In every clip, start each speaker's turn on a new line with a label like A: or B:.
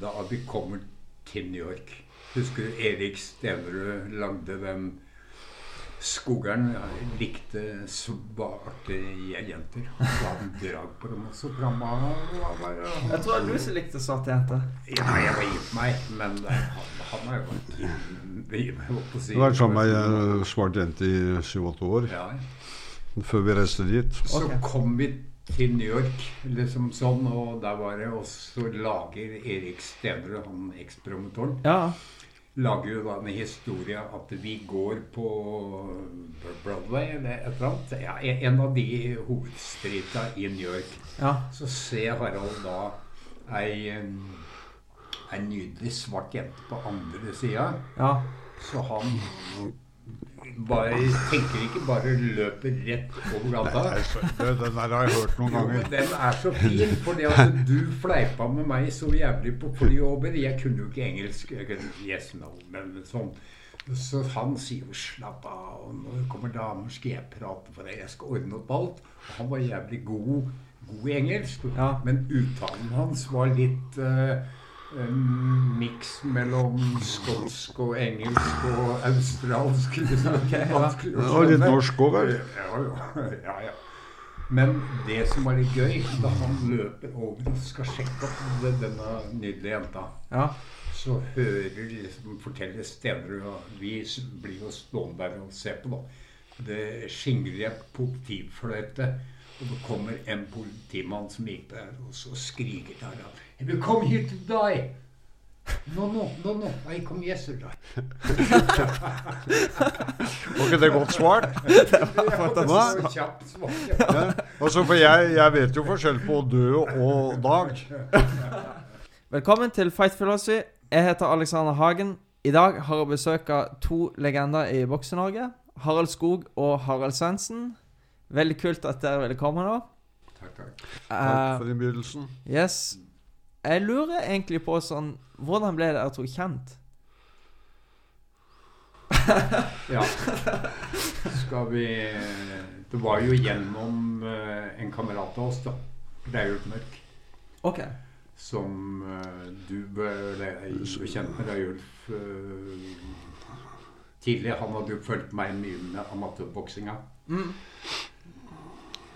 A: da vi kommer til New York. Husker du Erik Stenerud lagde den Skogeren likte svarte jenter. Så hadde drag på dem også. Framma,
B: Jeg tror du som likte svarte jenter.
A: ja, jeg var gitt meg, men eh, han, han er jo vært
C: Jeg var sammen sånn med ei svart jente i sju-åtte år
A: Ja.
C: før vi reiste dit.
A: Så
B: Ok.
A: kom vi til New York, liksom sånn, og der var det også lager Erik Stenerud, han ekspromotøren,
B: Ja.
A: lager jo da en historie at vi går på Broadway eller et eller annet. Ja, en av de hovedstrita i New York.
B: ja.
A: Så ser Harald da ei, eh, ei nydelig svart jente på andre sida.
B: Ja.
A: Så han bare tenker ikke, bare løper rett over gata.
C: Den der har jeg hørt noen
A: Jo, men
C: ganger.
A: Den er så fin, fordi at du fleipa med meg så jævlig på flyover. Jeg kunne jo ikke engelsk. Jeg kunne yes, no, men sånn. Så han sier jo 'slapp av', og 'når det kommer damer, skal jeg prate for deg', 'jeg skal ordne opp alt'. Og han var jævlig god, god i engelsk,
B: Ja.
A: men uttalen hans var litt eh, en miks mellom skotsk og engelsk og australsk. Liksom. Vanskelig å
C: Og litt
A: skjønne.
C: norsk òg, vel.
A: Ja, ja, ja, ja. Men det som var litt gøy, da han løper over og skal sjekke opp det- denne nydelige jenta,
B: ja.
A: så hører de liksom forteller Stenerud og vi s- blir jo stående der og se på, da. Det skingrer en politifløyte, og det kommer en politimann som gikk der, og så skriker der han «He will come here to die! No, no, no, no, I come yesterday.
C: Var ikke det godt svart?
A: Det var så kjapt svar.
C: Altså, for jeg, jeg vet jo forskjell på død og dag.
B: Velkommen til Fight Philosophy. Jeg heter Alexander Hagen. I dag har jeg besøk av to legender i Bokse-Norge. Harald Skog og Harald Svendsen. Veldig kult at dere ville komme nå.
A: Takk, takk.
B: Eh,
C: Takk for innbydelsen.
B: yes. Jeg lurer egentlig på sånn Hvordan ble dere to kjent?
A: Ja. Skal vi eh, Det var jo gjennom eh, en kamerat av oss, da. Reidulf Mørk.
B: OK.
A: Som eh, du ble jo kjent med Reidulf eh, tidlig. Han hadde jo fulgt meg mye med amatørboksinga.
B: Mm.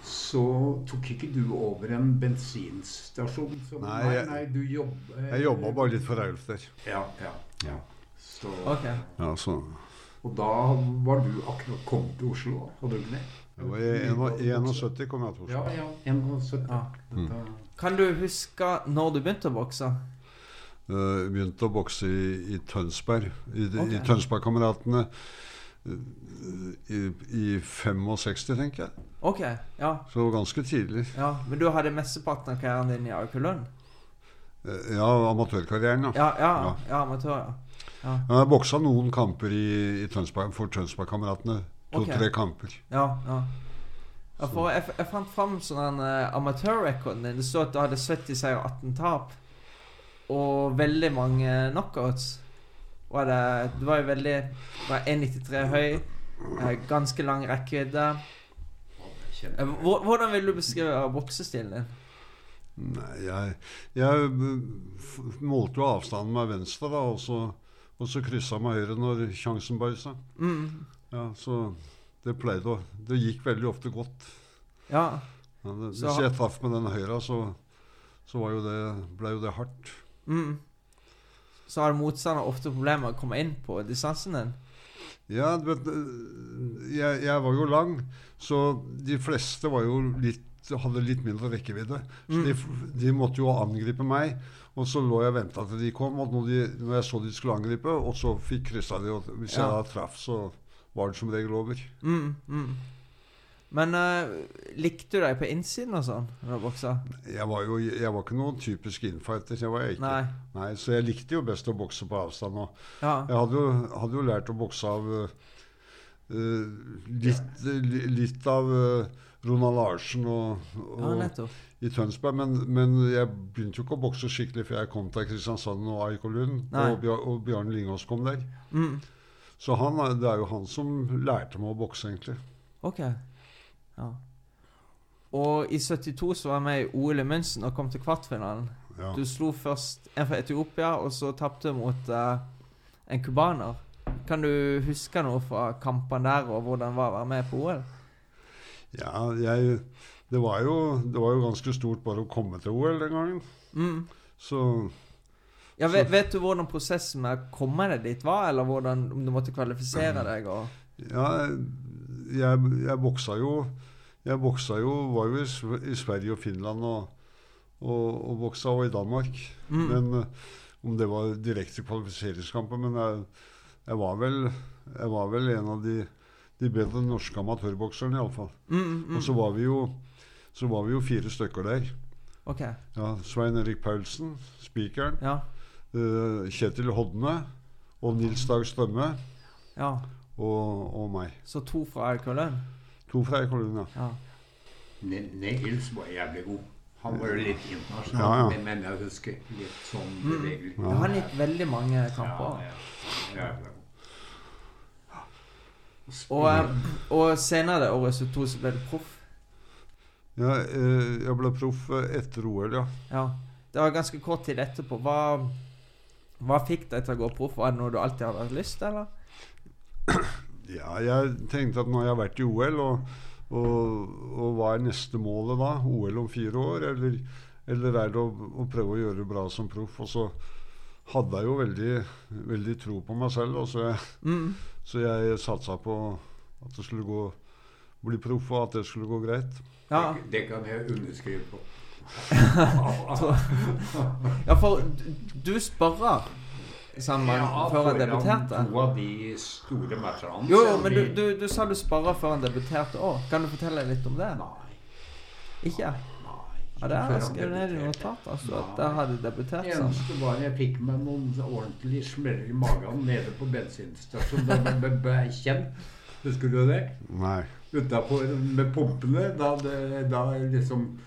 A: Så tok ikke du over en bensinstasjon? Som,
C: Nei,
A: nei,
C: jeg-
A: nei, du jobb, eh,
C: Jeg jobba bare litt for Raulf der.
A: Ja, ja.
C: Ja.
A: Så,
B: Ok.
C: Ja, altså. så
A: Og da var du akkurat kommet til Oslo, hadde du ikke det?
C: det var I en- i 71 kom jeg til Oslo.
A: Ja, ja. 71.
B: Ja.
A: Dette,
B: Kan du huske når du begynte å bokse?
C: Eh, begynte å bokse i, i Tønsberg. I, i
B: Ok.
C: Tønsbergkameratene eh, i, i 65, tenker jeg.
B: OK. Ja.
C: Så ganske tidlig.
B: ja. Men du hadde mesteparten av karrieren din i Aukerlund?
C: Eh, ja, amatørkarrieren, da.
B: Ja, ja,
C: Ja.
B: ja. Amatør, ja.
C: Ja, Jeg boksa noen kamper i, i Tønsberg for Tønsbergkameratene.
B: Ok.
C: To-tre kamper.
B: Ja, ja. ja for jeg, f- jeg fant fram sånn den eh, amatørrekorden din. Det står at du hadde 70 seier og 18 tap. Og veldig mange knockouts. Var det, du var jo veldig du var 1,93 høy. eh, Ganske lang rekkevidde.
A: kjenner
B: Eh, hvor- Hvordan vil du beskrive boksestilen din?
C: Nei, jeg, jeg eh, f- målte jo avstanden med venstre, da, og så, og så kryssa jeg med høyre når sjansen bød seg.
B: Mm,
C: Ja, så det pleide å Det gikk veldig ofte godt.
B: ja.
C: Ja, det,
B: Så
C: hvis
B: ha-
C: jeg traff med den høyra, så, så var jo det, ble jo det hardt.
B: Mm. Så har motstander ofte problemer med å komme inn på distansen din.
C: Ja, du vet, jeg, jeg var jo lang, så de fleste var jo litt hadde litt mindre rekkevidde. Så
B: Mm.
C: de, f- de måtte jo angripe meg. Og så lå jeg og venta til de kom, og når, de, når jeg så de skulle angripe, og så fikk kryssa de, og hvis jeg
B: Ja.
C: da traff, så var det som regel over.
B: Mm, mm. Men eh, likte du deg på innsiden og sånn når du boksa?
C: Jeg var jo jeg var ikke noen typisk infighter, det var jeg ikke.
B: Nei.
C: Nei, så jeg likte jo best å bokse på avstand. Og
B: Ja.
C: Jeg hadde jo, hadde jo lært å bokse av eh, eh, litt, li- litt av eh, Ronald Larsen og, og
B: ja, nettopp.
C: i Tønsberg, men, men jeg begynte jo ikke å bokse skikkelig før jeg kom til Kristiansand og AIK Lund,
B: Nei.
C: og, Bjar og Bjarne Lingås kom der.
B: Mm.
C: Så han, er- det er jo han som lærte meg å bokse, egentlig.
B: Ok. Ja. Og i 72 så var jeg med i OL i München og kom til kvartfinalen.
C: Ja.
B: Du slo først en fra Etiopia, og så tapte du mot eh, en cubaner. Kan du huske noe fra kampene der, og hvordan det var å være med på OL?
C: ja, jeg det var, jo, det var jo ganske stort bare å komme til OL den gangen.
B: Mm.
C: Så
B: Ja, vet, vet du hvordan prosessen med å komme deg dit var, eller hvordan, om du måtte kvalifisere
C: Mm.
B: deg? Og,
C: ja, jeg, jeg boksa jo Jeg boksa jo, var jo i, Sv- i Sverige og Finland og, og, og boksa, og i Danmark.
B: mm.
C: Men eh, om det var direkte kvalifiseringskamper Men jeg, jeg, var, vel, jeg var vel en av de, de bedre norske amatørbokserne, iallfall.
B: mm, mm, mm.
C: Og så var vi jo så var vi jo fire stykker der.
B: Ok,
C: Ja, Svein Erik Paulsen, spikeren.
B: ja.
C: eh, Kjetil Hodne og Nils Dag Strømme
B: ja.
C: og, og meg.
B: Så to fra Aukralund?
C: To fra Eikolund, ja.
B: Ja.
A: Ne- Nils var jævlig god. Han var jo litt internasjonal,
C: Ja, ja.
A: men- men jeg husker litt sånn
B: Mm.
A: bevegelige.
B: Ja, Han gikk veldig mange kamper.
A: Ja, ja. Jævlig god.
B: Og, eh, og senere det året, 72, så ble du proff.
C: ja eh, jeg ble proff eh, etter OL, ja.
B: Ja. Det var ganske kort tid etterpå. Hva, hva fikk deg til å gå proff? Var det noe du alltid hadde hatt lyst til, eller?
C: Ja, jeg tenkte at når jeg har vært i OL, og, og, og hva er neste målet da? OL om fire år? Eller, eller er det å, å prøve å gjøre det bra som proff? Og så hadde jeg jo veldig, veldig tro på meg selv, og så jeg,
B: Mm.
C: så jeg satsa på at det skulle gå bli proff, og at det skulle gå greit.
B: Ja.
A: Det- Det kan jeg underskrive på.
B: ja, for du- du sparra sammen med
A: Ja,
B: han før han
A: foran
B: debuterte.
A: To av de store matchene hans.
B: Jo, jo, men
A: Vi-
B: du, du, du sa du sparra før han debuterte òg. Kan du fortelle litt om det?
A: Nei.
B: Ikke?
A: nei.
B: Ja, det har
A: Før
B: jeg
A: han
B: skrevet ned i
A: debuterte.
B: notatet. Altså,
A: Nei.
B: at der hadde debutert
A: Det
B: sammen.
A: eneste var jeg fikk meg noen ordentlige smeller i magen nede på bensinstasjonen. Da ble- ble- ble jeg kjent. Husker du det?
C: Nei.
A: Utafor med pumpene. Da, det, da liksom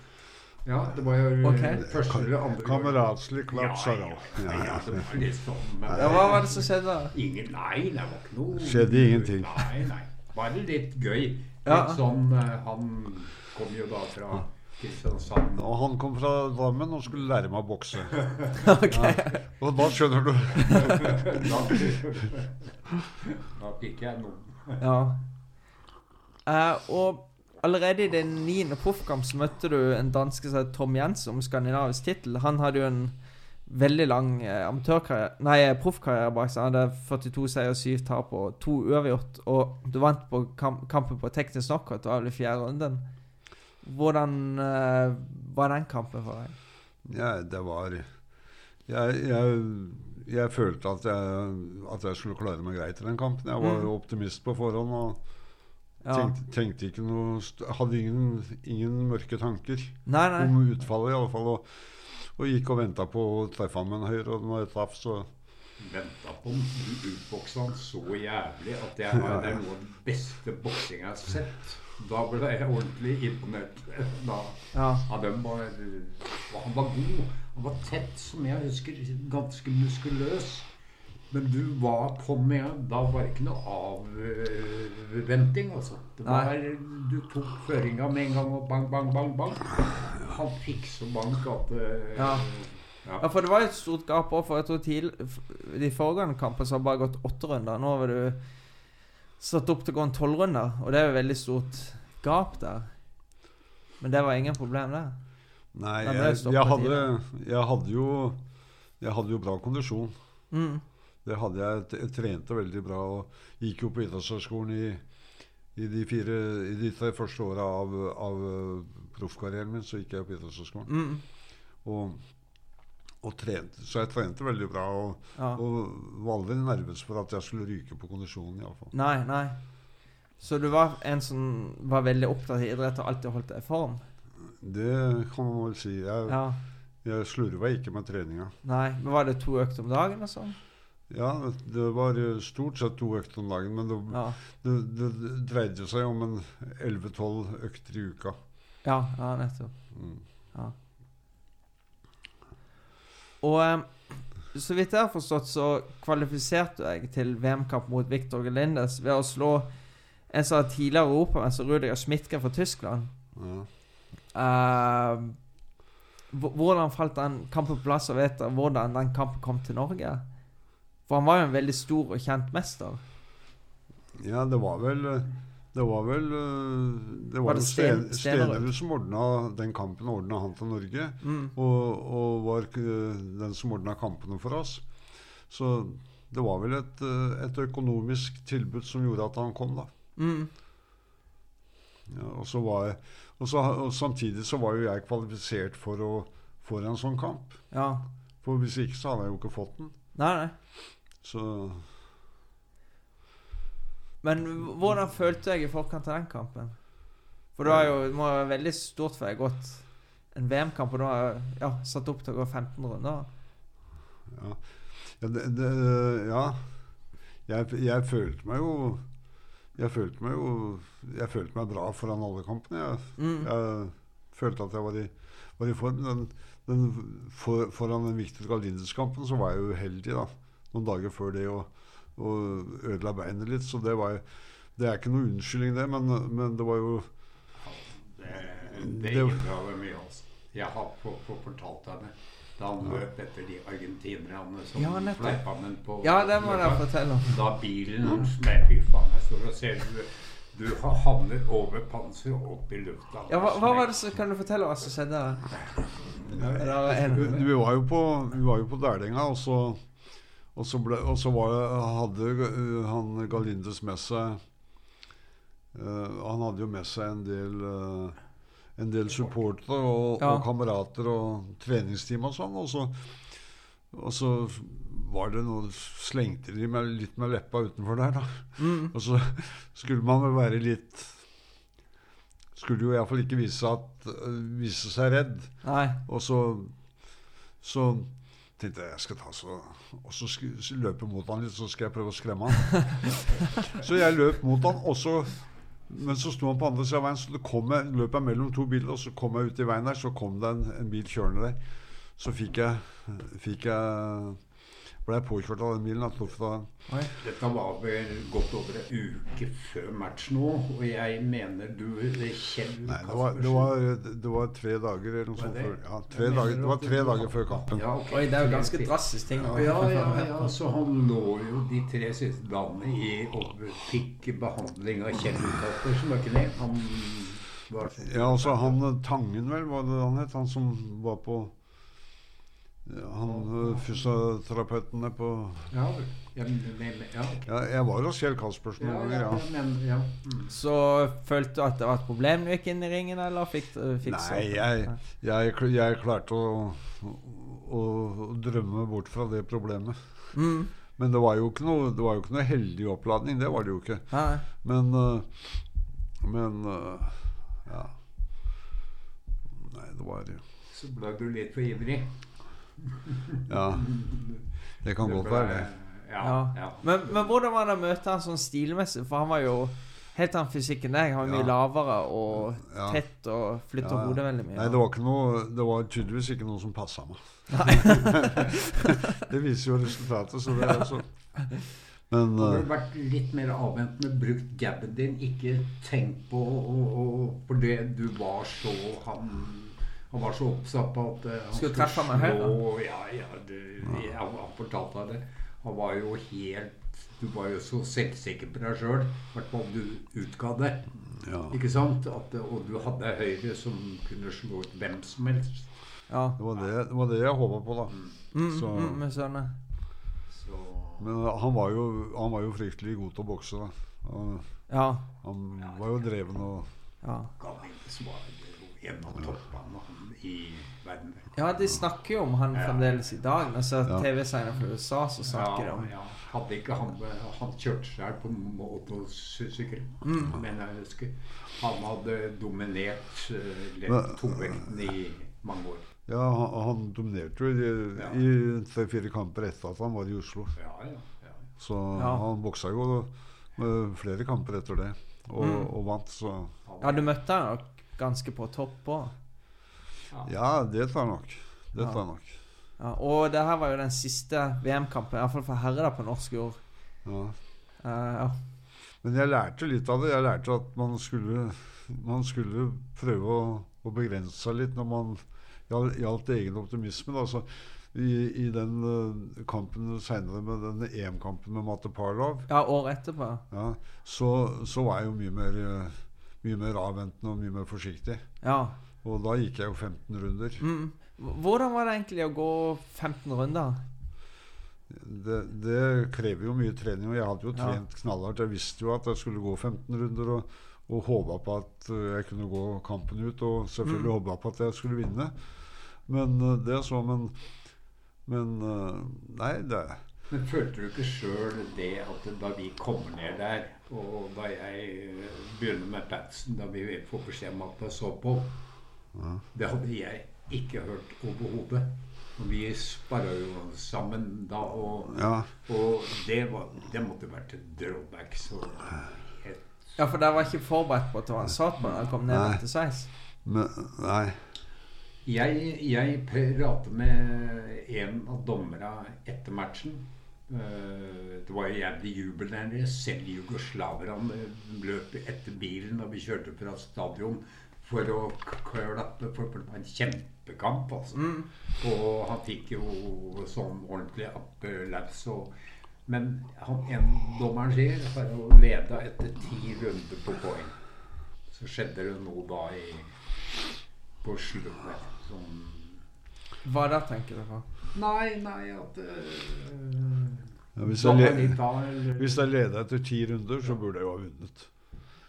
A: Ja, det var jo eh,
B: Ok.
A: første eller andre
C: Kameratslig
A: Ja,
C: klapp, sa
A: ja, ja, ja, det var liksom men-
B: Ja, hva var det som skjedde? da?
A: Ingen, nei, det var ikke noe
C: Skjedde ingenting.
A: Nei, nei. Bare litt gøy. Litt
B: Ja.
A: sånn eh, Han kom jo da fra Kristiansand.
C: Og han kom fra Drammen og skulle lære meg å bokse.
B: Ok.
C: Og da skjønner du.
A: Da, da fikk jeg noen
B: Ja. Eh, og allerede i din niende proffkamp så møtte du en danske som het Tom Jensen om skandinavisk tittel. Han hadde jo en veldig lang eh, amatørkarriere Nei, eh, proffkarriere bak seg. Han hadde 42 seier, 7 tap og 2 uavgjort. Og du vant på kam kampen på teknisk knockout, det var vel i fjerde runden. Hvordan eh, var den kampen for deg?
C: Ja, det var jeg, jeg, jeg følte at jeg, at jeg skulle klare meg greit i den kampen. Jeg var
B: Mm.
C: jo optimist på forhånd og
B: Ja.
C: tenkte, tenkte ikke noe st- Hadde ingen, ingen mørke tanker
B: Nei, nei.
C: om utfallet, i alle fall. Og, og gikk og venta på å treffe ham med en høyre, og når jeg traff, så
A: venta på den. Du utboksa han så jævlig at jeg har, det er noe av den beste boksinga jeg har sett. Da ble jeg ordentlig imponert. Da,
B: Ja.
A: ja, den var, og han var god. Han var tett, som jeg husker. Ganske muskuløs. Men du var kom igjen. Da var det ikke noe avventing, altså. Det var, du tok føringa med en gang, og bang, bang, bang, bang. Han fikk så bank at eh,
B: Ja.
A: ja.
B: Ja, for det var jo et stort gap òg, for jeg tror tidl f- de foregående kampene så har det bare gått åtte runder. Nå har du satt opp til å gå en tolv runder, og det er jo et veldig stort gap der. Men det var ingen problem, det.
C: Nei,
B: Da ble
C: jeg,
B: det stopp
C: jeg,
B: på
C: hadde, jeg hadde jo Jeg hadde jo bra kondisjon.
B: Mm.
C: Det hadde jeg, t- jeg trente veldig bra og gikk jo på idrettshøyskolen i, i, de fire, i de tre første åra av, av eh, proffkarrieren min. Så gikk jeg på idrettshøyskolen
B: Mm.
C: og, og trente. Så jeg trente veldig bra og,
B: Ja.
C: og var aldri nervøs for at jeg skulle ryke på kondisjonen iallfall.
B: Nei, nei. Så du var en som var veldig opptatt av idrett og alltid holdt deg i form?
C: Det kan man vel si. Jeg,
B: Ja.
C: jeg slurva ikke med treninga.
B: Nei. Men var det to økter om dagen og sånn?
C: Ja, det var eh, stort sett to økter om dagen, men det,
B: Ja.
C: det, det dreide seg om en 11-12 økter i uka.
B: ja. Ja, nettopp.
C: Mm.
B: Og eh, så vidt jeg har forstått, så kvalifiserte jeg til VM-kamp mot Victor Gelindes ved å slå en som er tidligere europamester, Rudiger Schmidtke fra Tyskland.
C: Ja.
B: Eh, Hv- Hvordan falt den kampen på plass, og vet dere hvordan den kampen kom til Norge? For han var jo en veldig stor og kjent mester.
C: Ja, det var vel Det var vel eh, Det
B: Var
C: var,
B: det
C: jo
B: Sten-
C: Sten-
B: Stenerud?
C: Stenerud som ordna den kampen, ordna han til Norge.
B: Mm.
C: Og, og var k- den som ordna kampene for oss. Så det var vel et, eh, et økonomisk tilbud som gjorde at han kom, da.
B: Mm.
C: Ja, og, så var jeg, og, så, og samtidig så var jo jeg kvalifisert for, å, for en sånn kamp.
B: Ja.
C: For hvis ikke så hadde jeg jo ikke fått den.
B: Nei, nei.
C: Så
B: Men h- hvordan følte jeg i forkant av den kampen? For du har jo det må være veldig stort for deg gått en VM-kamp, og du har ja, satt opp til å gå 15 runder.
C: ja. Ja, det, det, ja. Jeg, jeg følte meg jo Jeg følte meg jo Jeg følte meg bra foran alle kampene. Jeg,
B: Mm.
C: jeg følte at jeg var i, var i form. Den, den, for, foran den Viktor Galindus-kampen så var jeg jo uheldig da, noen dager før det og, og ødela beinet litt. Så det var Det er ikke noen unnskyldning, det, men, men det var jo
A: Det
C: Det-
A: innrømmer mye altså. Jeg har få- få fortalt deg det. Da han løp etter de argentinerne som
B: Ja, nettopp.
A: fleipa med ham på
B: Ja, det må jeg fortelle om.
A: Da bilen hans med Fy faen, jeg står og ser du, du har havnet over panseret og opp i lufta.
B: Ja, hva, hva var det som, Kan du fortelle hva som skjedde? Eller er
C: Vi,
B: det-
C: vi var jo på, vi var jo på Dælinga, og så, og så, ble, og så var, hadde uh, han Galindus med seg uh, Han hadde jo med seg en del uh, en del supportere og,
B: Ja.
C: og kamerater og treningsteam og sånn. Og så, og så var det noe Slengte de meg litt med leppa utenfor der, da.
B: Mm.
C: Og så skulle man vel være litt Skulle jo iallfall ikke vise, at, vise seg redd.
B: Nei.
C: Og så, så tenkte jeg jeg skal ta så Og så sku- så løpe mot han litt, så skal jeg prøve å skremme han. så jeg løp mot han, og så men så sto han på andre siden av veien, så det kom jeg, løp jeg mellom to biler. Og så kom jeg ut i veien der, så kom det en, en bil kjørende der. Så fikk jeg, fikk jeg Ble jeg påkjørt av den bilen. Jeg traff da
B: Oi.
A: Dette var vel godt over en uke før match nå, og jeg mener du Kjell
C: Nei, det var, det, var, det var tre dager eller noe sånt
A: det?
C: før. Ja, tre dager, det var tre dager før kampen.
A: Ja, ok.
B: Oi, det er jo ganske drastisk ting.
A: Ja, ja, ja, ja, så han lå jo de tre siste dagene i og fikk behandling av Kjell Uthalter, som var ikke det. Han var
C: Ja, altså han eh, Tangen, vel, var det han het? Han som var på ja, Han eh, fysioterapeuten der på
A: Ja, vel. ja, men- men- ja, ok.
C: Ja, jeg var hos Kjell Kaspersen
A: ja,
C: noen
A: ja,
C: ganger,
A: ja, men, ja. Mm.
B: Så følte du at det var et problem du gikk inn i ringen, eller fikk du sånn?
C: ja.
B: fikk så-
C: Nei, jeg, jeg, kl- jeg klarte å, å, å drømme bort fra det problemet.
B: Mm.
C: Men det var jo ikke noe, det var jo ikke noe heldig oppladning, det var det jo ikke.
B: Nei.
C: Men eh, Men eh, ja. Nei, det var jo
A: Så ble du litt for ivrig.
C: Ja, det kan godt være det.
A: Ja,
B: Ja.
A: ja.
B: Men, men hvordan var det å møte han sånn stilmessig? For han var jo helt annen fysikk enn deg. Han var mye
C: Ja.
B: lavere og
C: Ja.
B: tett og flytta
C: Ja, ja.
B: hodet veldig mye.
C: Nei, det var, ikke noe, det var tydeligvis ikke noe som passa meg. det viser jo resultatet, så det er altså Men
A: Du har
C: eh,
A: vært litt mer avventende, brukt gabben din, ikke tenkt på å- å- For det du var så Han, han var så oppsatt på at eh, han
B: Skulle treffe med høyre.
A: slå- Ja, ja, det, jeg, han fortalte deg det. Han var jo helt Du var jo så selvsikker på deg sjøl, i hvert fall du utga det.
C: ja.
A: Ikke sant? At, eh, og du hadde høyre som kunne slå ut hvem som helst.
B: ja.
C: Det var det, det var det jeg håpa på, da.
B: Mm,
C: Så-
B: mm, med sønne.
A: Så
C: Men eh, han var jo, han var jo fryktelig god til å bokse. da. Han,
B: Ja.
C: han var jo dreven og
B: ja.
A: Galins var jo en av toppene han i verden.
B: Ja, de snakker jo om han
A: Ja.
B: fremdeles i dag. Når jeg ser
C: Ja.
B: TV-seierne fra USA, så snakker de
A: ja,
B: om
A: ja. Hadde ikke han Han kjørte seg på motorsykkel, men jeg husker han hadde dominert uh, lett
C: Men-
A: tungvekten i mange år.
C: Ja, han, han dominerte jo i, de-
A: Ja.
C: i tre-fire kamper etter at han var i Oslo.
A: Ja, ja, ja.
C: Så
B: Ja.
C: han boksa jo eh, flere kamper etter det, og,
B: Mm.
C: og vant, så
A: Han,
B: Ja, du møtte han nok ganske på topp òg.
C: Ja, det tar nok. Det
B: Ja.
C: tar nok.
B: Ja, og det her var jo den siste VM-kampen, iallfall for herrer på norsk jord.
C: Ja.
B: Eh, ja.
C: Men jeg lærte litt av det. Jeg lærte at man skulle, man skulle prøve å, å begrense seg litt når man Gjal- Gjaldt egen optimisme. da, så i, I den eh, kampen seinere, med denne EM-kampen med Mate Parlov,
B: Ja, året etterpå.
C: ja, så, så var jeg jo mye mer, eh, mye mer avventende og mye mer forsiktig.
B: Ja.
C: Og da gikk jeg jo 15 runder.
B: Mm. H- Hvordan var det egentlig å gå 15 runder?
C: Det, det krever jo mye trening, og jeg hadde jo
B: Ja.
C: trent knallhardt. Jeg visste jo at jeg skulle gå 15 runder, og, og håpa på at eh, jeg kunne gå kampen ut. Og selvfølgelig håpet håpa på at jeg skulle vinne. Men eh, det så, men Men eh, nei, det
A: Men følte du ikke sjøl det at da vi kommer ned der, og da jeg eh, begynner med Batson, da vi får beskjed om at det er så på,
C: Ja.
A: det hadde jeg ikke hørt overhodet. Og Vi sparra jo sammen da, og,
C: Ja.
A: og det, var, det måtte vært et drawback. Så jeg
B: Ja, for dere var ikke forberedt på at det var en Satman som kom ned
C: Nei.
B: etter sveis?
C: Men nei.
A: Jeg, jeg pratet med en av dommerne etter matchen. Eh, Det var jo jævlig jubel der nede. Selv jugoslaverne løp etter bilen da vi kjørte fra stadion for å k- klappe, for for det var en kjempekamp, altså. Og han fikk jo sånn ordentlig applaus. og- Men han, en dommeren sier at han leda etter ti runder på poeng. Så skjedde det noe da i på slutten. Sånn
B: Hva da, tenker du på?
A: Nei, nei, at eh,
C: Ja, hvis,
A: Da
C: jeg
A: er
C: le,
A: litt av, eller-
C: hvis jeg leder etter ti runder, så burde jeg jo ha vunnet.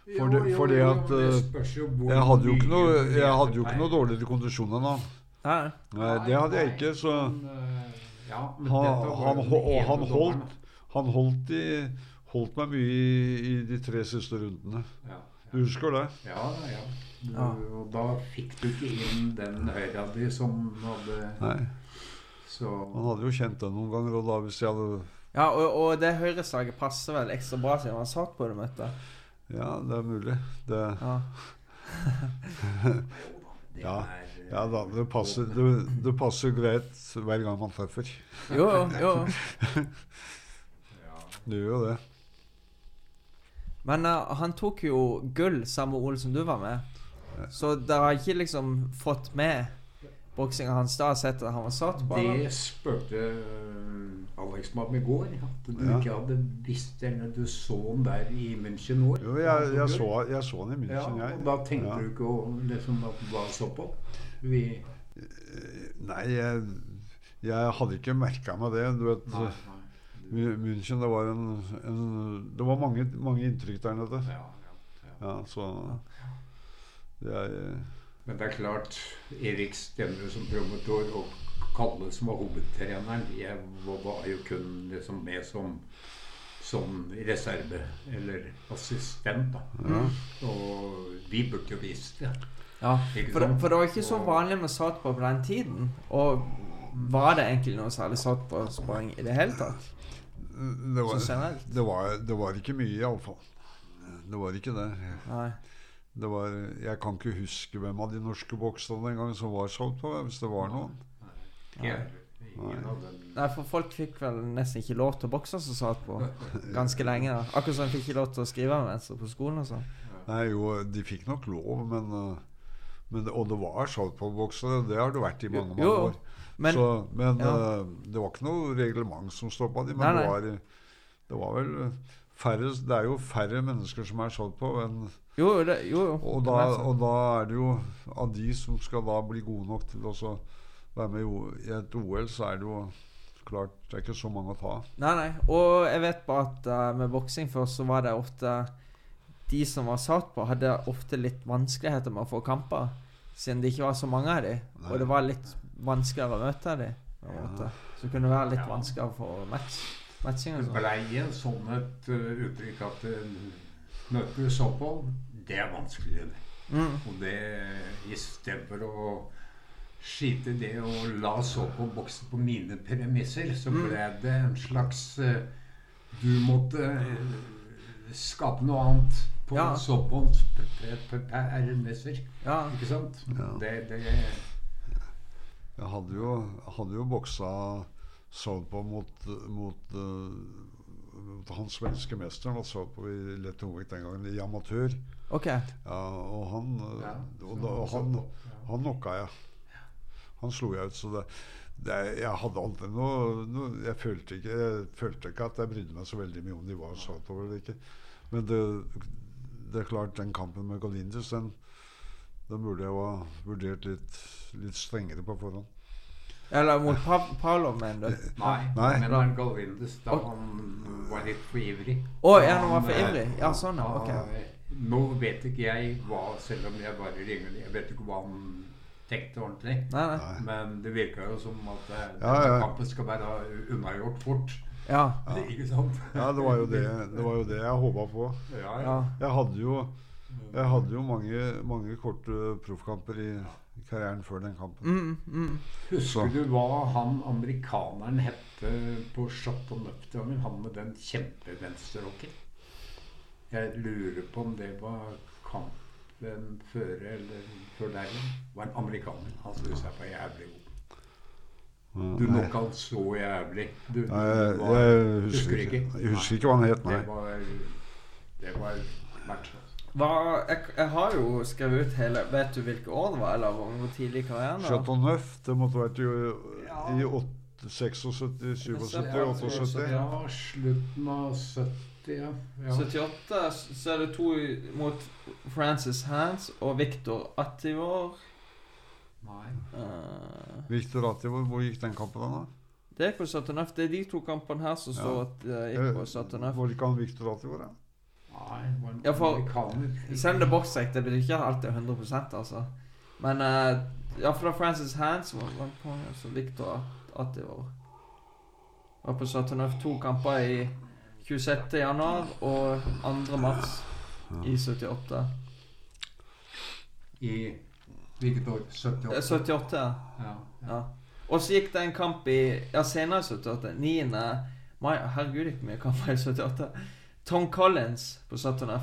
A: Jo,
C: fordi-
A: jo,
C: fordi
A: jo,
C: at,
A: men det
C: eh,
A: spørs jo hvor
C: Jeg hadde jo ikke
A: mye
C: noe,
A: du
C: jeg
A: leter
C: hadde jo ikke
A: deg.
C: noe dårligere kondisjon enn han.
B: Ja.
C: Nei, det hadde jeg ikke, så
A: Men, eh, ja, men
C: han,
A: dette var
C: han,
A: jo den
C: ho- og
A: ene
C: han
A: dommeren,
C: holdt, han holdt, i, holdt meg mye i, i de tre siste rundene.
A: da. Ja,
C: Du husker det?
A: ja, ja, ja. Du,
B: Ja.
A: Og da fikk du ikke inn den høyra di som hadde
C: Nei.
A: Så
C: Han hadde jo kjent det noen ganger, og da hvis jeg hadde
B: ja og, og det høyreslaget passer vel ekstra bra siden det var en Satman du møtte?
C: Ja, det er mulig. Det,
B: Ja.
A: det
C: Ja.
A: er eh,
C: ja da, det passer, det, det passer greit hver gang man treffer.
B: Jo, jo, jo.
A: ja.
C: Det gjør jo det.
B: Men eh, han tok jo gull samme OL som du var med. Så dere har ikke liksom fått med boksinga hans da, sett at han var Satman?
A: Det spurte eh, Alex meg om i går. At du
C: Ja.
A: ikke hadde visst det, eller du så han der i München nå.
C: Jo, jeg, jeg, så, jeg så han i
A: Ja,
C: München,
A: og
C: jeg.
A: da tenkte
C: Ja.
A: du ikke å liksom at hva så på? Vi,
C: Nei, jeg, jeg hadde ikke merka meg det. Du vet,
A: nei,
C: Mu- München, det var en, en Det var mange, mange inntrykk der nede.
A: nei, ja, ja, ja.
C: Ja, så eh, jeg,
A: Men det er klart, Erik Stemmerud som promotor og Kalle som var hovedtreneren Jeg var, var jo kun liksom med som, som reserve, eller assistent, da.
C: ja.
A: Og vi burde jo visst det.
B: Ja.
A: Ikke
B: For, det-
A: sant?
B: for det var ikke så
A: Og-
B: vanlig med Satman på den tiden. Og var det egentlig noe særlig Satman-sprang i det hele tatt?
C: det,
B: Så
C: var,
B: generelt?
C: det, var, det var ikke mye, iallfall. Det var ikke det.
B: Nei.
C: det var, jeg kan ikke huske hvem av de norske bokserne en gang som var solgt på, hvis det var noen.
A: Ja, ingen av dem.
B: Nei, for folk fikk vel nesten ikke lov til å bokse som satt på ganske lenge. da Akkurat som de fikk ikke lov til å skrive med venstre på skolen og sånn.
C: Nei, jo, de fikk nok lov, men, eh, men det- Og det var solgt på boksere, det har det vært i mange, mange
B: Jo,
C: år.
B: men
C: så, men
B: ja.
C: eh, det var ikke noe reglement som stoppa de, men
B: Nei, nei.
C: Det, var, det var vel færre Det er jo færre mennesker som er solgt på, enn
B: Jo, jo, det, jo, jo.
C: Og da,
B: altså-
C: og da er det jo av de som skal da bli gode nok til å så være med i O- i et OL, så er det jo klart det er ikke så mange å ta.
B: Nei, nei. Og jeg vet bare at eh, med boksing før så var det ofte De som var satt på, hadde ofte litt vanskeligheter med å få kamper. Siden det ikke var så mange av de
C: Nei.
B: Og det var litt vanskeligere å møte de på en
C: Ja.
B: måte. Så det kunne være litt
A: Ja.
B: vanskeligere for match, matching og
A: Det
B: sånn.
A: blei en sånn et eh, uttrykk at møter du så på, det er vanskelig. det.
B: Mm.
A: Og det istedenfor å skite i det og la så på boksen på mine premisser, så
B: Mm.
A: ble det en slags eh, Du måtte eh, skape noe annet på
B: Ja.
A: så på hans p- p- p- premisser.
B: Ja.
A: Ikke sant?
C: Ja.
A: Det, det
C: Jeg hadde jo, jeg hadde jo boksa Sodpo mot, mot, eh, mot han svenske mesteren, og Sodpo i lett tungvekt den gangen, i amatør.
B: OK.
C: Ja, og han, eh,
A: ja,
C: og
A: så-
C: da, og
A: så
C: han,
A: på, ja.
C: han knocka jeg. Han slo jeg ut. Så det, det, jeg hadde aldri noe, noe jeg, følte ikke, jeg følte ikke at jeg brydde meg så veldig mye om de var satt over eller ikke. Men det, det er klart, den kampen med Galindus, den, den burde jeg jo ha vurdert litt, litt strengere på forhånd.
B: Eller mot pa Palov, mener du?
A: Nei,
C: Nei.
A: men han Galvindes da
B: Og-
A: han var litt for ivrig.
B: Å, ja, han var for ivrig? Ja, sånn, ja. Ok.
A: Eh, Nå vet ikke jeg hva, selv om jeg bare ringer Jeg vet ikke hva han tenkte ordentlig.
B: Nei, nei.
C: Nei.
A: Men det virka jo som at eh,
C: Ja,
A: denne
C: ja.
A: kampen skal være unnagjort fort.
B: Ja.
A: Det, ikke sant?
C: Ja, det var jo det, det, var jo det jeg håpa på.
A: Ja,
B: ja.
A: ja.
C: Jeg hadde jo, jeg hadde jo mange, mange korte proffkamper i karrieren før den kampen.
B: Mm, mm.
A: Husker
C: Så.
A: du hva han amerikaneren het på Chateau Neuf-dagen? Han med den kjempevenstrerocken? Jeg lurer på om det var kampen før eller før der. igjen. Det var en amerikaner. Han slo seg på jævlig god. Du
C: Nei.
A: nok han så jævlig. Du,
C: Nei,
A: du
C: jeg,
A: var-
C: jeg
A: husker
C: husker ikke.
A: ikke?
C: Jeg husker ikke hva han het, nei.
A: Det var Det var verdt det.
B: Hva, jeg, jeg har jo skrevet ut hele Vet du hvilke år det var, eller hvor hvor tidlig i karrieren? det var?
C: Chateau Neuf, det måtte vært i, i
A: Ja.
C: 8, 76, 77,
B: Ja,
C: 78.
A: Ja, slutten av 70, ja. ja.
B: 78 så er det to i- mot Francis Hands og Victor Attivor.
A: Nei.
B: Eh,
C: Victor Ratti, hvor, hvor gikk den kampen da?
B: det er på Satanøff. Det er de to kampene her som står at det gikk på
C: Eh,
B: Satanøff.
C: Var det ikke han Victor Ratti vår, da?
A: Nei, det var en
B: Ja, for-
A: amerikaner.
B: Selv om det er boksek, det blir ikke alltid 100 altså. Men eh, ja, for da Francis Hands var var på, så Victor At- Attivor var på Satanøff to kamper i 26. januar og 2. mars i 78.
A: I hvilket år?
B: Eh,
A: 78?
B: 78, ja.
A: Ja. ja.
B: Ja. Og så gikk det en kamp i Ja, senere i 78. 9. mai. Herregud, det gikk mye kamper i 78. Tom Collins på Saturn F.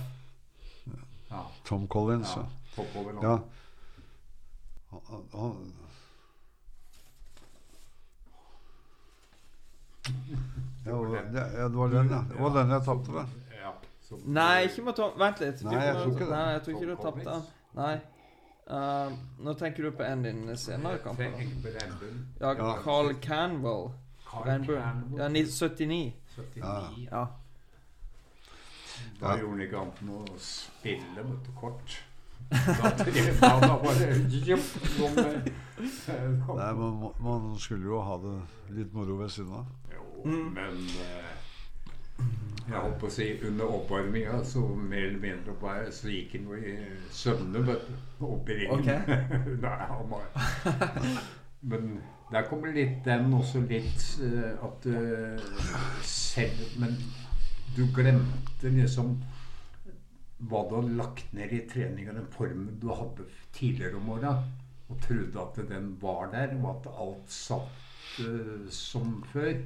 A: ja.
C: Tom Collins,
A: ja.
C: ja.
A: Oppover nå.
C: ja. Han, han, ja, det, ja, det var den, ja. Det var den jeg tapte, da.
A: Ja, som-
B: Nei, ikke mot Tom Vent litt. Vi
C: Nei, jeg
B: må-
C: tror ikke det.
B: Nei, jeg tror ikke du
A: Tom
B: tapte den.
A: Collins.
B: Nei. Eh, nå tenker du på en av dine senere kamper. da.
A: Tenk på Rembrandt.
B: Ja,
C: Ja.
B: Carl Canwell.
A: Carl
B: Renburn.
A: Canwell,
B: Ja, ni- 79.
A: 79.
B: Ja.
A: Da
C: Ja.
A: gjorde han ikke annet enn å spille vet du, kort. Da drev han da bare jupp, sånn med-
C: Nei, man, må- man skulle jo ha det litt moro ved siden av.
A: Jo,
B: Mm.
A: men eh, jeg holdt på å si under oppvarminga, så mer eller mindre bare så gikk han jo i søvne vet du, opp i ringen. Nei, han var Men der kommer litt den også litt eh, at du selv Men du glemte liksom hva du hadde lagt ned i trening og den formen du hadde tidligere om åra, og trodde at den var der, og at alt satt eh, som før.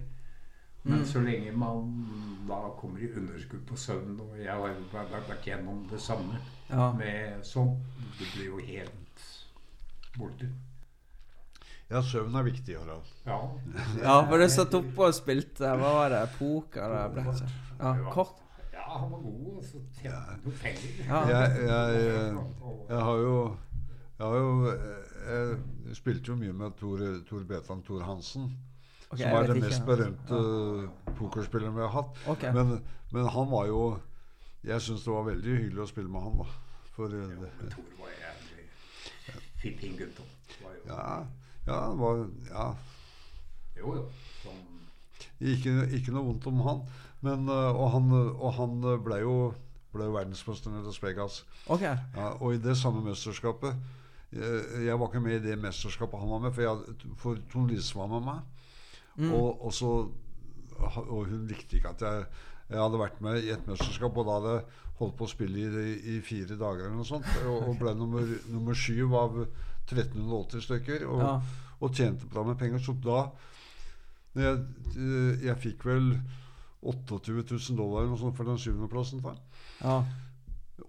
A: Men
B: Mm.
A: så lenge man da kommer i underskudd på søvn, og jeg har jo vært- vært vært gjennom det samme
B: ja.
A: med sånn, du blir jo helt borte.
C: Ja, søvn er viktig, Harald.
A: Ja.
B: ja, for du satt oppe og spilte Hva var det? Poker? eller blackjack? Ja, kort.
A: Ja, han var god, og så tjente han noen penger.
B: Ja.
C: Jeg, jeg, jeg har jo jeg, har jo, eh, jeg spilte jo mye med Tor, Tor Betan Tor Hansen,
B: Ok,
C: som
B: jeg
C: er
B: vet
C: den mest
B: ikke.
C: berømte pokerspilleren vi har hatt.
B: Ok.
C: Men, men han var jo Jeg syns det var veldig hyggelig å spille med han, da. For eh,
A: Jo, men
C: det-
A: Tor var jævlig fipping gutt. da. Var jo-
C: Ja, ja, det var, ja.
A: Jo, jo. Sånn,
C: Ikke, ikke noe vondt om han. Men, eh, og han, og han ble jo, ble jo verdensmester i Las Vegas.
B: Ok.
C: Ja, og i det samme mesterskapet jeg, jeg var ikke med i det mesterskapet han var med, for, jeg, for Trond Lise var med meg. Og, og, så, og hun likte ikke at jeg, jeg hadde vært med i et mesterskap, og da hadde jeg holdt på å spille i, i fire dager eller noe sånt, og, og ble nummer, nummer syv av 1380 stykker, og,
B: Ja.
C: og tjente bra med penger. Så da når jeg, eh, jeg fikk vel 28 000 dollar eller noe sånt for den syvendeplassen. da.
B: Ja.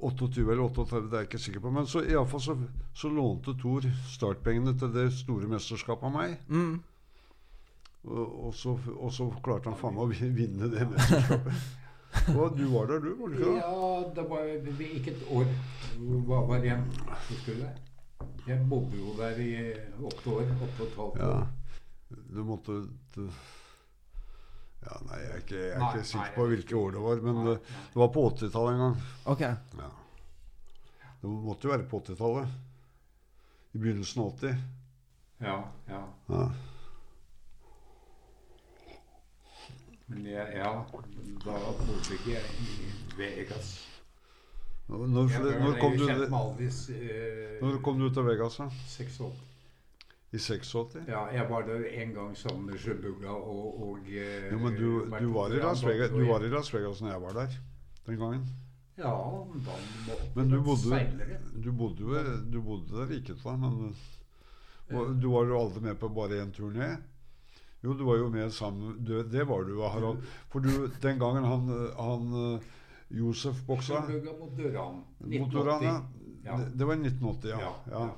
C: 28 eller 38, det er jeg ikke sikker på. Men så, i alle fall så, så lånte Thor startpengene til det store mesterskapet av meg.
B: Mm.
C: Og, og, så, og så klarte han faen meg å vi- vinne det mesterskapet. Og du var der, du, var du ikke det?
A: ja, det var vi gikk et år. Hva var det igjen? Husker du det? Jeg bodde jo der i åtte år. Åtte og et halvt år.
C: Ja. Du måtte du, Ja, nei, jeg er ikke, jeg er
A: Nei,
C: ikke
A: nei,
C: sikker på hvilke år det var, men
A: Nei,
C: det, det var på 80-tallet en gang.
B: OK.
C: Ja. Det måtte jo være på 80-tallet. I begynnelsen av 80.
A: Ja, ja.
C: Ja.
A: Men jeg, ja, da bodde ikke jeg i Vegas.
C: Når, når,
A: Jeg
C: når,
A: ble
C: kom
A: jo
C: du,
A: kjent med Aldis eh,
C: når kom du til Vegas? da?
A: 86.
C: I 86?
A: Ja, jeg var der en gang sammen med Sjøbugla og, og eh,
C: Jo, men du, du, var i Las
A: Bertrand
C: Vegas, du
A: Bakke.
C: var i Las Vegas når jeg var der den gangen.
A: Ja, da måtte
C: Men du
A: man
C: bodde,
A: seilere.
C: du bodde, jo, du bodde der ikke, da. Men og du var jo aldri med på bare én turné. Jo, du var jo med sammen du, Det var du, Harald. For du, den gangen han, han eh, Josef boksa
A: Sjøbugla mot Døran.
C: mot Orana
A: 1980. Ja.
C: det, det var i 1980, ja.
A: Ja,
C: ja.
A: ja.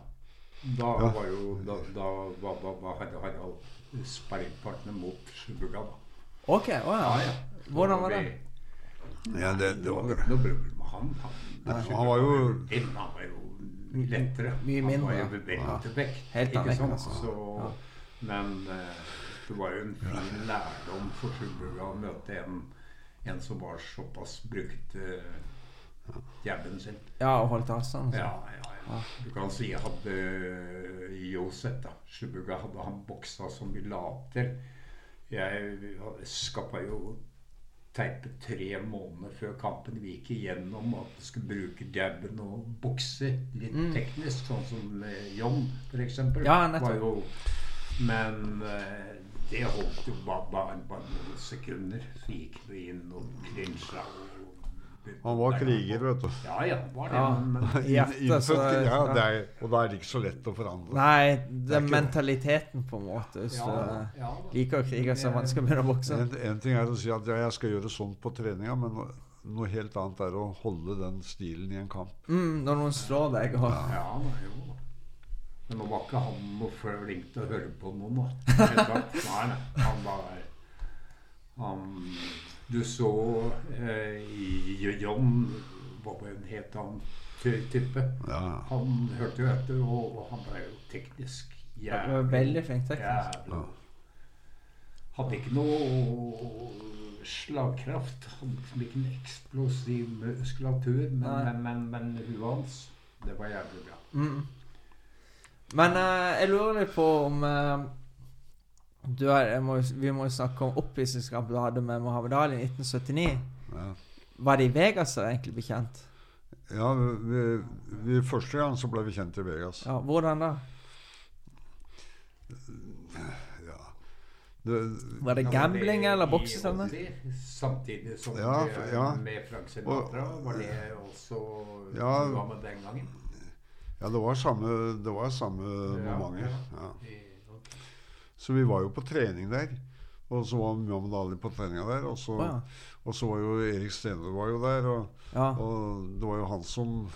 A: Da
C: Ja.
A: var jo Da, da var, var, var Harald- Harald sparringpartner mot Sjøbugla, da.
B: OK, å
A: Ah,
B: ja. Hvordan var det?
C: ja det, det
A: Det var
C: var
A: ikke noe problem med han. Han,
C: Nei, han var jo-
A: Den, han var jo lettere.
B: Mye
A: Han var
B: mindre.
A: jo veldig vekk.
B: Helt av
A: ikke
B: vekk,
A: sant?
B: altså. Ja.
A: Så, men eh, det var jo en fin lærdom for Subuga å møte en, en som var såpass brukt uh, jævlen sin.
B: Ja, og holdt avstand? altså.
A: Ja, ja, ja. Du kan si jeg hadde eh, Josef, da. Subuga hadde han boksa som vi la opp til. Jeg skaffa jo teipet tre måneder før kampen vi gikk igjennom at vi skulle bruke jabben og bokse litt teknisk, sånn som eh, John f.eks.
B: Mm. Ja, nettopp.
A: men eh, det holdt jo bare, bare, bare noen sekunder. Så gikk vi inn og klinsja. og-
C: Han var kriger, vet du.
A: Ja, ja, han var det.
B: Ja.
A: Men, men
C: Inn-
B: Hjertet,
C: innfødt,
B: så-
C: ja, det er, og da er det ikke så lett å forandre.
B: Nei, det
C: er
B: er
C: ikke-
B: mentaliteten, på en måte. Hvis
A: Ja,
B: du
A: ja,
B: eh,
A: ja.
B: liker å krige, så er det vanskelig å begynne å bokse.
C: En, en ting er å si at ja, jeg skal gjøre sånn på treninga, men no- noe helt annet er å holde den stilen i en kamp.
B: Mm, når noen slår deg og
A: Ja, nei, jo da. Men nå var ikke han noe flink til å høre på noen, da. Helt klart. Nei, nei. Han var han, Du så eh, i- John var jo en helt annen ty- type.
C: Ja.
A: Han hørte jo etter, og, og han ble jo teknisk
B: Du er veldig flink teknisk.
A: jævlig. Hadde ikke noe slagkraft. Han hadde ikke en eksplosiv muskulatur, men,
B: Nei.
A: men, men, men huet hans, det var jævlig bra.
B: Mm. Men eh, jeg lurer litt på om eh, du er, jeg må, Vi må jo snakke om oppvisningskampen du hadde med Mohammed Ali i 1979.
C: Ja.
B: Var det i Vegas dere egentlig ble kjent?
C: Ja, vi, vi, Første gang så ble vi kjent i Vegas.
B: Ja, hvordan da?
C: Ja. Det,
B: Var det gambling eller boksestemme?
A: I 80, Samtidig som
C: Ja,
A: det,
C: ja.
A: med Frank Sinatra
C: Og-
A: var det også
C: Ja.
A: hva med den gangen.
C: ja, det var samme, det var samme
A: Ja,
C: momentet. Ja.
A: I- ok.
C: Så vi var jo på trening der. Og så var Muhammed Ali på treninga der. Og så,
B: Å, ja.
C: og så var jo Erik Stenerud var jo der. Og,
B: Ja.
C: og det var jo han som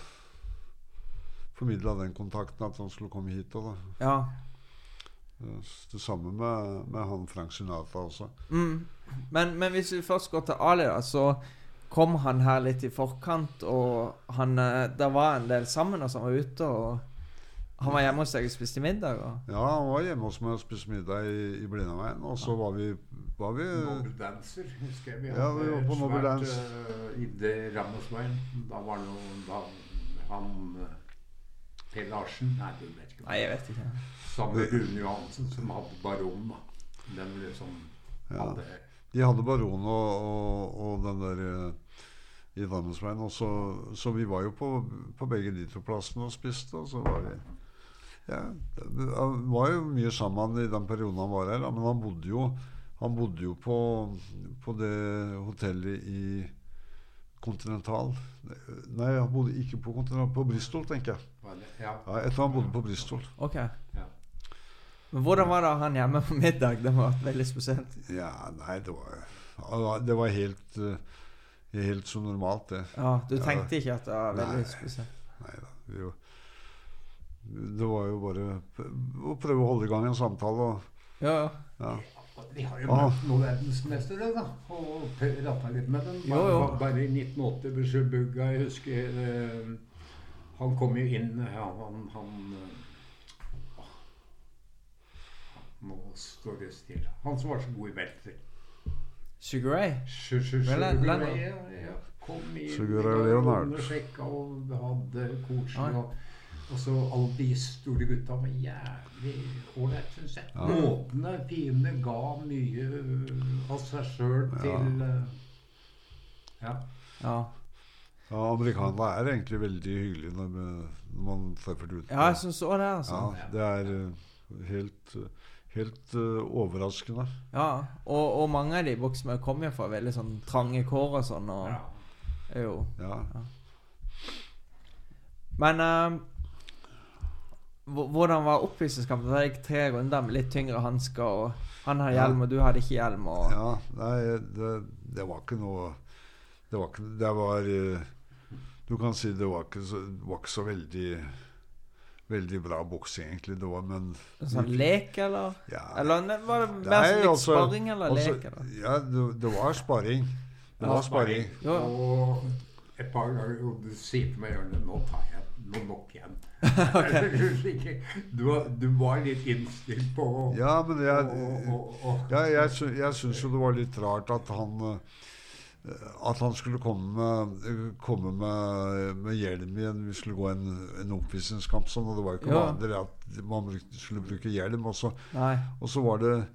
C: formidla den kontakten, at han skulle komme hit. Og da.
B: ja.
C: Det samme med, med han Frank Sinatra også.
B: Mm. Men, men hvis vi først går til Ali, da, så kom han her litt i forkant, og han eh, Der var en del sammen, altså. Han var ute, og han var hjemme hos deg og spiste middag, og
C: Ja, han var hjemme hos meg og spiste middag i, i Blindaveien. Og så var vi, var vi
A: Noble Dancer, husker jeg vi
C: Ja,
A: hadde.
C: vi var på
A: et
C: Noble
A: svært,
C: Dance.
A: eh, i det Rammersveien. Da var det jo da han eh, Per Larsen Nei, du vet ikke.
B: Nei, jeg vet ikke.
A: Sammen med Rune Johansen, som hadde Baron. da. Den liksom
C: Ja.
A: hadde
C: De hadde Baron og, og, og den der eh, i Drammensveien. og så- Så vi var jo på, på begge de to plassene og spiste, og så var vi ja, det var jo mye sammen i den perioden han var her, da, men han bodde jo, han bodde jo på, på det hotellet i Continental. Nei, han bodde ikke på Continental, på Bristol, tenker jeg.
A: var det, ja,
C: Ja, jeg tror han bodde på Bristol.
B: Ok.
A: ja.
B: Men hvordan var det han hjemme på middag? Det må ha vært veldig spesielt.
C: Ja, nei, det var, det var- det var helt, eh, helt som normalt, det.
B: Ja, Du
C: Ja.
B: tenkte ikke at det var veldig
C: Nei.
B: spesielt?
C: Nei da. Vi jo, det var jo bare p- å prøve å holde i gang en samtale. Og,
B: Ja, ja.
C: ja.
A: Vi har jo
C: Ah.
A: møtt noen verdensmestere, da. Og ratta litt med dem. Bare,
B: Jo, jo.
A: ba- bare i 1980 ved Sjøbugga. Jeg husker eh, Han kom jo inn Han, han, han eh, Nå står det stille. Han som var så god i velter.
B: Sugar Ray?
A: Sju- sju- sju-
B: Vel, Lennon.
A: ja, ja. Kom inn
C: Sugar Ray Leonard.
A: og sjekka og hadde
B: Oi.
A: coachen. Og, og så alle de store gutta var jævlig ålreit, syns jeg.
C: Ja.
A: Måtene fine ga mye øh, av seg sjøl
C: Ja.
A: til øh, Ja.
B: Ja.
C: Ja, Amerikanere er egentlig veldig hyggelige når når man treffer dem ute.
B: ja, jeg syns òg det, altså.
C: Ja, det er eh, helt, eh, helt eh, overraskende.
B: Ja, og, og mange av de boksene kommer jo fra veldig sånn trange kår og sånn. Og,
A: ja.
B: er jo.
C: Ja.
B: Men eh, hv- hvordan var oppvisningskampen? Da gikk tre runder med litt tyngre hansker, og han hadde
C: Ja.
B: hjelm, og du hadde ikke hjelm. Og,
C: ja nei, det, det var ikke noe Det var ikke Det var eh, Du kan si det var ikke så, det var ikke så veldig Veldig bra boksing, egentlig. Det var, men
B: Sånn lek, eller?
C: ja,
B: Eller ne- var det mer
C: Nei,
B: sånn litt
C: altså-
B: sparring eller
C: altså,
B: lek? Eller?
C: Ja, det, det var sparring. Det var sparring.
B: Ja.
A: Og et par ganger og du sier til meg Jørgen, nå tar jeg nå nok igjen. du, var, du var litt innstilt på å
C: Ja, men
A: å-
C: jeg
A: å- å-
C: Ja, jeg, sy jeg syns jo det var litt rart at han eh, at han skulle komme med, komme med, med hjelm igjen. Vi skulle gå en, en oppvisningskamp sånn, og det var jo ikke
B: Ja.
C: vanlig at man bruk- skulle bruke hjelm. Og så,
B: Nei.
C: og så var det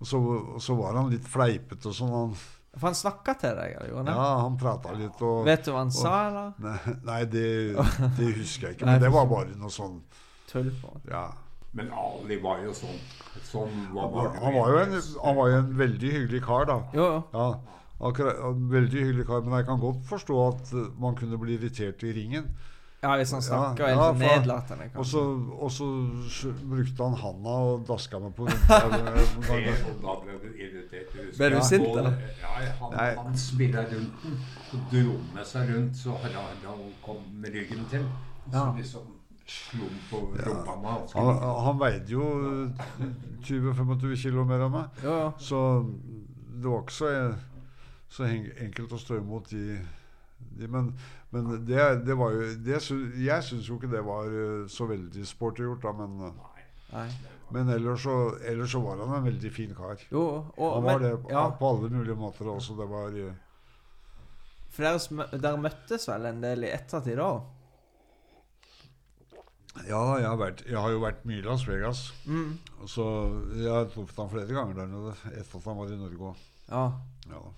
C: og så, og så var han litt fleipete og sånn. Han,
B: For han snakka til deg, eller gjorde han
C: ja,
B: det?
C: han prata litt og
B: Vet du hva han sa, eller?
C: Nei, nei det, det husker jeg ikke.
B: Nei,
C: Men det var bare noe sånn
B: Tull på han.
C: Ja.
A: Men Ali var jo sånn. Sånn var
C: Han var, han var jo en, han var jo en veldig hyggelig kar, da.
B: Jo, jo.
C: Ja, akkurat, en veldig hyggelig kar, men jeg kan godt forstå at eh, man kunne bli irritert i ringen.
B: Ja, hvis han snakker
C: Ja,
B: helt
C: ja,
B: sånn
C: for-
B: nedlatende.
C: Og
B: kanskje.
C: så, og så s- brukte han handa og daska meg på rumpa.
A: Det, og sånn, da ble du irritert. du husker.
B: Ble du
A: Ja,
B: sint,
A: og-
B: eller?
A: Ja, han,
C: Nei.
A: han smirra rundt den og dro med seg rundt, så Harald kom med ryggen til. Og så
B: Ja.
A: liksom slo han på rumpa med
C: Han,
A: hansken.
C: han veide jo eh, 20-25 kilo mer enn meg,
B: Jo, jo.
C: så det var ikke så, så hen- enkelt å stå imot de, de men, men det, det var jo det, sy- Jeg syns jo ikke det var eh, så veldig sporty gjort, da, men, eh,
A: Nei.
B: Nei.
C: men ellers, så, ellers så var han en veldig fin kar.
B: Jo, og,
C: Han var
B: men,
C: det
B: ja,
C: på alle mulige måter også. Det var eh,
B: for dere, sm- dere møttes vel en del i ettertid da?
C: Ja, jeg har, vært, jeg har jo vært mye i Las Vegas.
B: Mm.
C: og Så jeg har truffet ham flere ganger der nede etter at han var i Norge òg.
B: Ja,
C: Ja. da.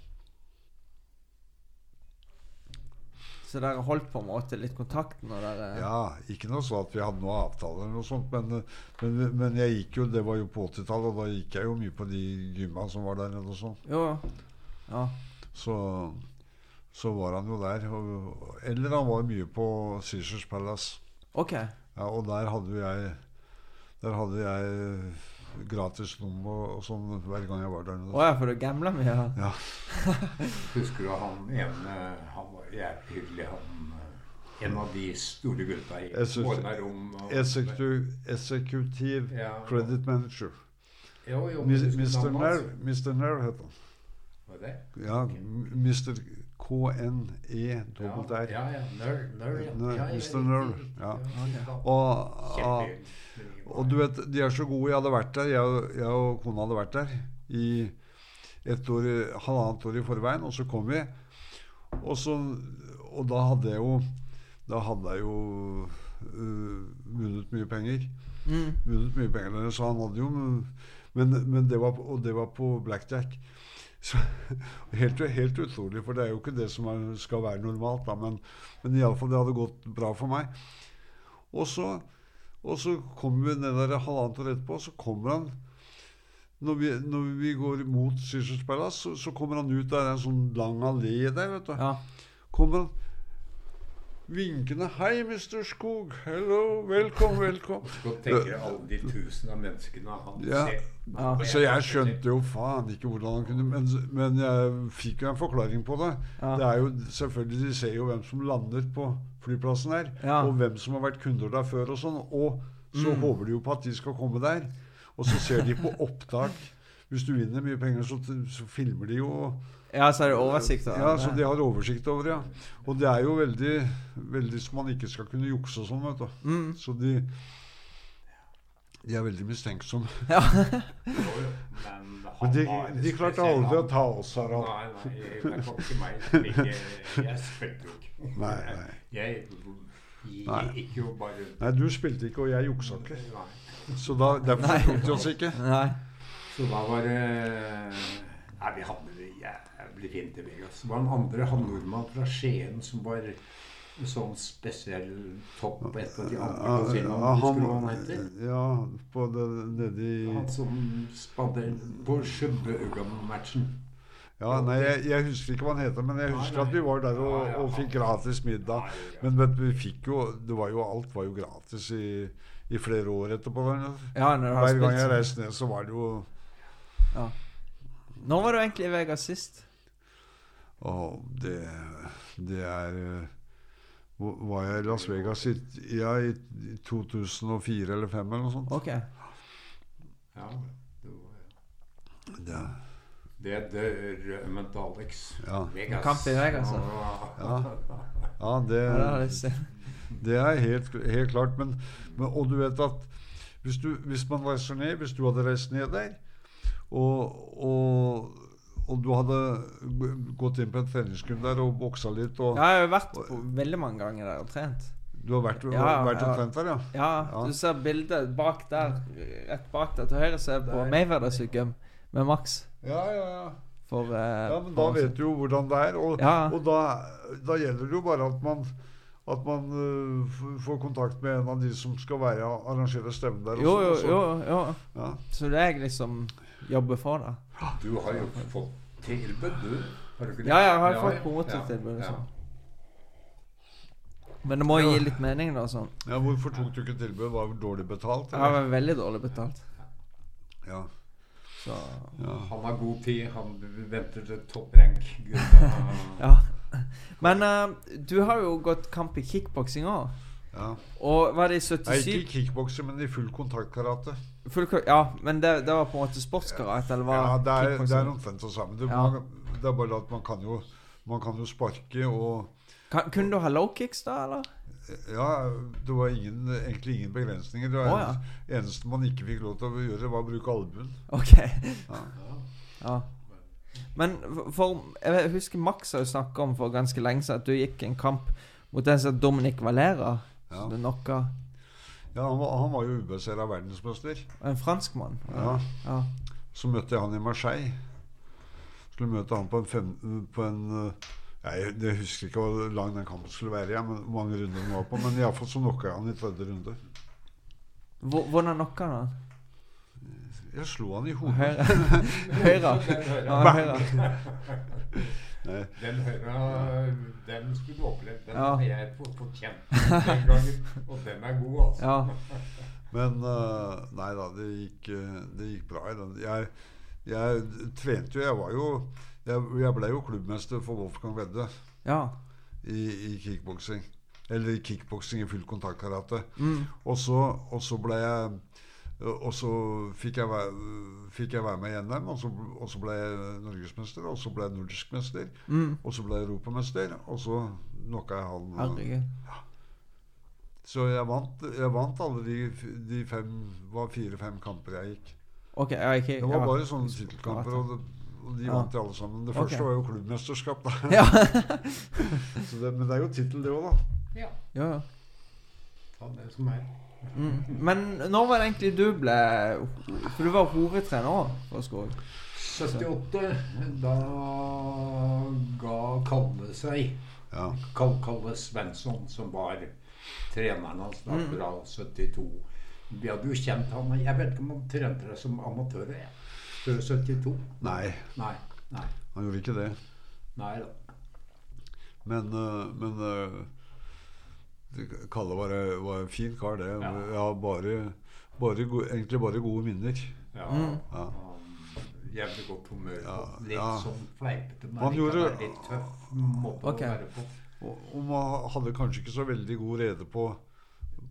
B: så dere holdt på en måte litt kontakten og dere
C: ja, ikke noe sånn at vi hadde noen avtaler eller noe sånt, men, eh, men, men jeg gikk jo, det var jo på 80-tallet, og da gikk jeg jo mye på de gymma som var der nede og sånn.
B: Jo, ja.
C: Så, så var han jo der. Og, eller han var mye på Caesars Palace.
B: Ok.
C: Ja, og der hadde jo jeg Der hadde jeg gratis nummer og sånn hver gang jeg var der nede.
B: Å ja, for du gambla mye? da.
C: Ja.
A: Husker du han ene Han var jævlig hyggelig, han eh, En av de store gutta i
C: Jeg synes-
A: Årna Rom. og-
C: Execu- Executive
A: Ja.
C: Credit Manager.
A: Jo, jo, men husker du
C: Mr.
A: navnet hans?
C: Nair, Mr. Nair het han.
A: Var det?
C: Ja, Mr.
A: Ja,
C: KNE-dobbelt E R.
A: ja, ja. Nair, Nair, ja. Ja, ja,
C: Nair, Mr.
A: riktig,
C: Nair,
A: riktig,
C: ja.
A: riktig, ja.
C: Og, ah,
A: Kjempehyggelig.
C: og du vet, de er så gode. Jeg hadde vært der, jeg, og- jeg og kona hadde vært der i et år, i- halvannet år i forveien, og så kom vi. Og, så, og da hadde jeg jo Da hadde jeg jo øh, vunnet mye penger.
B: Mm.
C: vunnet mye penger der, så han hadde jo men, men det var, Og det var på blackjack. Så, helt, helt utrolig, for det er jo ikke det som er, skal være normalt, da, men, men iallfall det hadde gått bra for meg. Og så, og så kommer vi ned der halvannet år etterpå, så kommer han når vi, når vi går mot Caesars Palace, så, så kommer han ut der, en sånn lang allé der, vet du
B: Ja.
C: kommer han vinkende 'Hei, Mr. Skog. Hello. Velkommen, velkommen'.
A: Så tenker jeg alle de tusen av menneskene han
C: Ja.
A: ser.
B: Ja.
A: Og
C: Så jeg skjønte jo faen ikke hvordan han kunne Men, men jeg fikk jo en forklaring på det.
B: Ja.
C: Det er jo selvfølgelig De ser jo hvem som lander på flyplassen her,
B: Ja. Mm.
C: og hvem som har vært kunder der før og sånn. Og så håper de jo på at de skal komme der. Og så ser de på opptak. Hvis du vinner mye penger, så, så filmer de jo. og
B: ja, så er det oversikt over
C: Ja,
B: det.
C: så de har oversikt over det. Ja. Og det er jo veldig, veldig så man ikke skal kunne jukse og sånn, vet du.
B: Mm.
C: Så de De er veldig mistenksomme.
A: Men
C: Men
A: han
C: de,
A: var
C: de klarte
A: spesiell,
C: aldri å
A: han.
C: ta oss, Harald.
A: Nei, nei, jeg- det var ikke meg. som ikke- Jeg spilte jo ikke.
C: Nei, nei.
A: Jeg gi-
C: Nei.
A: gikk jo bare
C: Nei, du spilte ikke, og jeg juksa ikke.
A: Nei.
C: Så da, derfor
B: Nei.
C: så tok de oss ikke.
B: Nei.
A: Så da var det Nei, vi hadde det jævlig fint i Vegas. Det var en andre han nordmann fra Skien som var en sånn spesiell topp på et av de andre
C: Ja,
A: kasinoene. Husker du hva han
C: han,
A: heter?
C: ja, på det, nede i
A: Han som spanderte på Skjøbbe-Ugam-matchen.
C: Ja, nei, jeg, jeg husker ikke hva han heter, men jeg husker at vi var der og, og fikk gratis middag. Men vet, du, vi fikk jo, det var jo alt var jo gratis i, i flere år etterpå.
B: Ja, når du har
C: Hver gang jeg
B: spilt
C: reiste ned, så var det jo
B: Når var du egentlig i Vegas sist?
C: Å, det, det er eh, hvor- Var jeg i Las Vegas i, ja, i 2004 eller 2005 eller noe sånt?
B: Ok.
A: Ja, det var
C: Ja.
A: Det er drømmen til Alex.
C: Ja.
A: Vegas.
B: Kamp i Vegas, altså. ja.
A: Ja.
C: Ja, det,
B: Ja, det har jeg sett.
C: Det er helt, helt klart. Men, men, og du vet at hvis, du, hvis man reiser ned, hvis du hadde reist ned der, og, og, og du hadde g- gått inn på en treningsklubb der og boksa litt og
B: Ja, jeg har jo vært på veldig mange ganger der og trent.
C: Du har vært,
B: Ja,
C: vært
B: ja.
C: omtrent der, ja?
B: Ja,
C: Ja.
B: du ser bildet bak der. Rett bak der til høyre så er jeg på Mayweather sykehjem med Max.
C: Ja, ja, ja.
B: For eh,
C: ja men da
B: for-
C: vet du jo hvordan det er. Og,
B: Ja.
C: og da, da gjelder det jo bare at man at man øh, f- får kontakt med en av de som skal være arrangere stevnen der.
B: Jo, jo,
C: også, sånn.
B: jo. jo.
C: så- Ja.
B: Så det er jeg liksom jobber for, da.
A: Du har jo fått tilbud, du. Har du ikke det?
B: Ja, jeg har fått
A: ja.
B: promotortilbud,
A: Ja,
B: liksom. Men det må jo gi litt mening, da. Sånn.
C: ja, Hvorfor tok du ikke tilbudet? Var det dårlig betalt?
B: Jeg har vært veldig dårlig betalt.
C: Ja.
B: Så
C: ja.
A: ja. Han har god tid. Han venter til topp rank. Gutta.
B: ja. Men eh, du har jo gått kamp i kickboksing òg.
C: Ja.
B: Og var det i
C: Nei, ikke i
B: 77
C: kickbokser, men i full kontaktkarate.
B: full, ko- Ja, men det, det var på en måte sportskarate, eller var
C: Ja, det er, det er
B: kickboksing?
C: omtrent det samme. Det,
B: Ja.
C: man, det er bare at man kan jo man kan jo sparke og
B: Kan, kunne du ha low kicks da, eller?
C: Ja, det var ingen, egentlig ingen begrensninger. Det var
B: Å, ja.
C: en- eneste man ikke fikk lov til å gjøre, var å bruke albuen.
B: Ok.
C: Ja.
B: Ja. Men for Jeg vet- husker Max har jo snakka om for ganske lenge siden at du gikk en kamp mot den som het Dominic Valera.
C: Ja.
B: Som du knocka.
C: Ja, han, var, han var jo ubeseira verdensmester.
B: En franskmann.
C: Ja.
B: Ja.
C: Så møtte jeg han i Marseille. Skulle møte han på en, fem, på en eh, jeg, jeg husker ikke hvor lang den kampen skulle være, ja, men hvor mange runder den var på. Men iallfall så knocka jeg han i tredje runde.
B: Hvor- Hvordan knocka han? han?
C: Jeg slo han i hodet.
B: Høyre. Høyre. Ja, høyre.
A: Den høra, den skulle du opplevd. Den
B: Ja.
A: har jeg fått fortjent den gangen. Og den er god, altså.
B: Ja.
C: Men eh, nei da, det gikk, eh, det gikk bra i den. Jeg, jeg trente jo, jeg var jo Jeg, jeg ble jo klubbmester for Wolfgang Vedde
B: ja.
C: i, i kickboksing. Eller kickboksing i full kontaktkarate.
B: Mm.
C: Og så, og så ble jeg og så fikk jeg, væ- fikk jeg være med i NM, og så, og så ble jeg norgesmester, og så ble jeg nordisk mester,
B: Mm.
C: og så ble jeg europamester, og så knocka jeg han.
B: Herregud.
C: Så jeg vant, jeg vant alle de, f- de fem, var fire-fem kamper jeg gikk.
B: Ok, ja, ikke
C: Det var
B: ja.
C: bare sånne tittelkamper, og, det- og de
B: Ja.
C: vant de alle sammen. Det første
B: Ok.
C: var jo klubbmesterskap, da.
B: Ja.
C: Så det, men det er jo tittel, det òg, da.
A: Ja,
B: ja, ja.
A: ta det som er.
B: Mm. Men når var det egentlig du ble For du var horetrener òg for Skog?
A: 78, da ga Kalle seg.
C: Ja.
A: Kall Kalle Svensson, som var treneren hans da
B: Mm.
A: fra 72. Vi hadde jo kjent han Jeg vet ikke om han trente deg som amatør jeg. før 72.
C: Nei,
A: Nei. Nei.
C: han gjorde ikke det.
A: Nei da.
C: Men, øh, men øh, det- Kalle var, var en fin kar, det.
A: Ja.
C: Ja, bare, bare, go- egentlig bare gode minner.
A: Ja.
B: Mm.
C: Ja.
A: han- Jævlig godt humør.
C: Ja,
A: Litt
C: ja.
A: sånn fleipete, men
C: Han gjorde-
A: likevel litt tøff måte
B: Ok.
A: å være på.
C: Og, og man hadde kanskje ikke så veldig god rede på,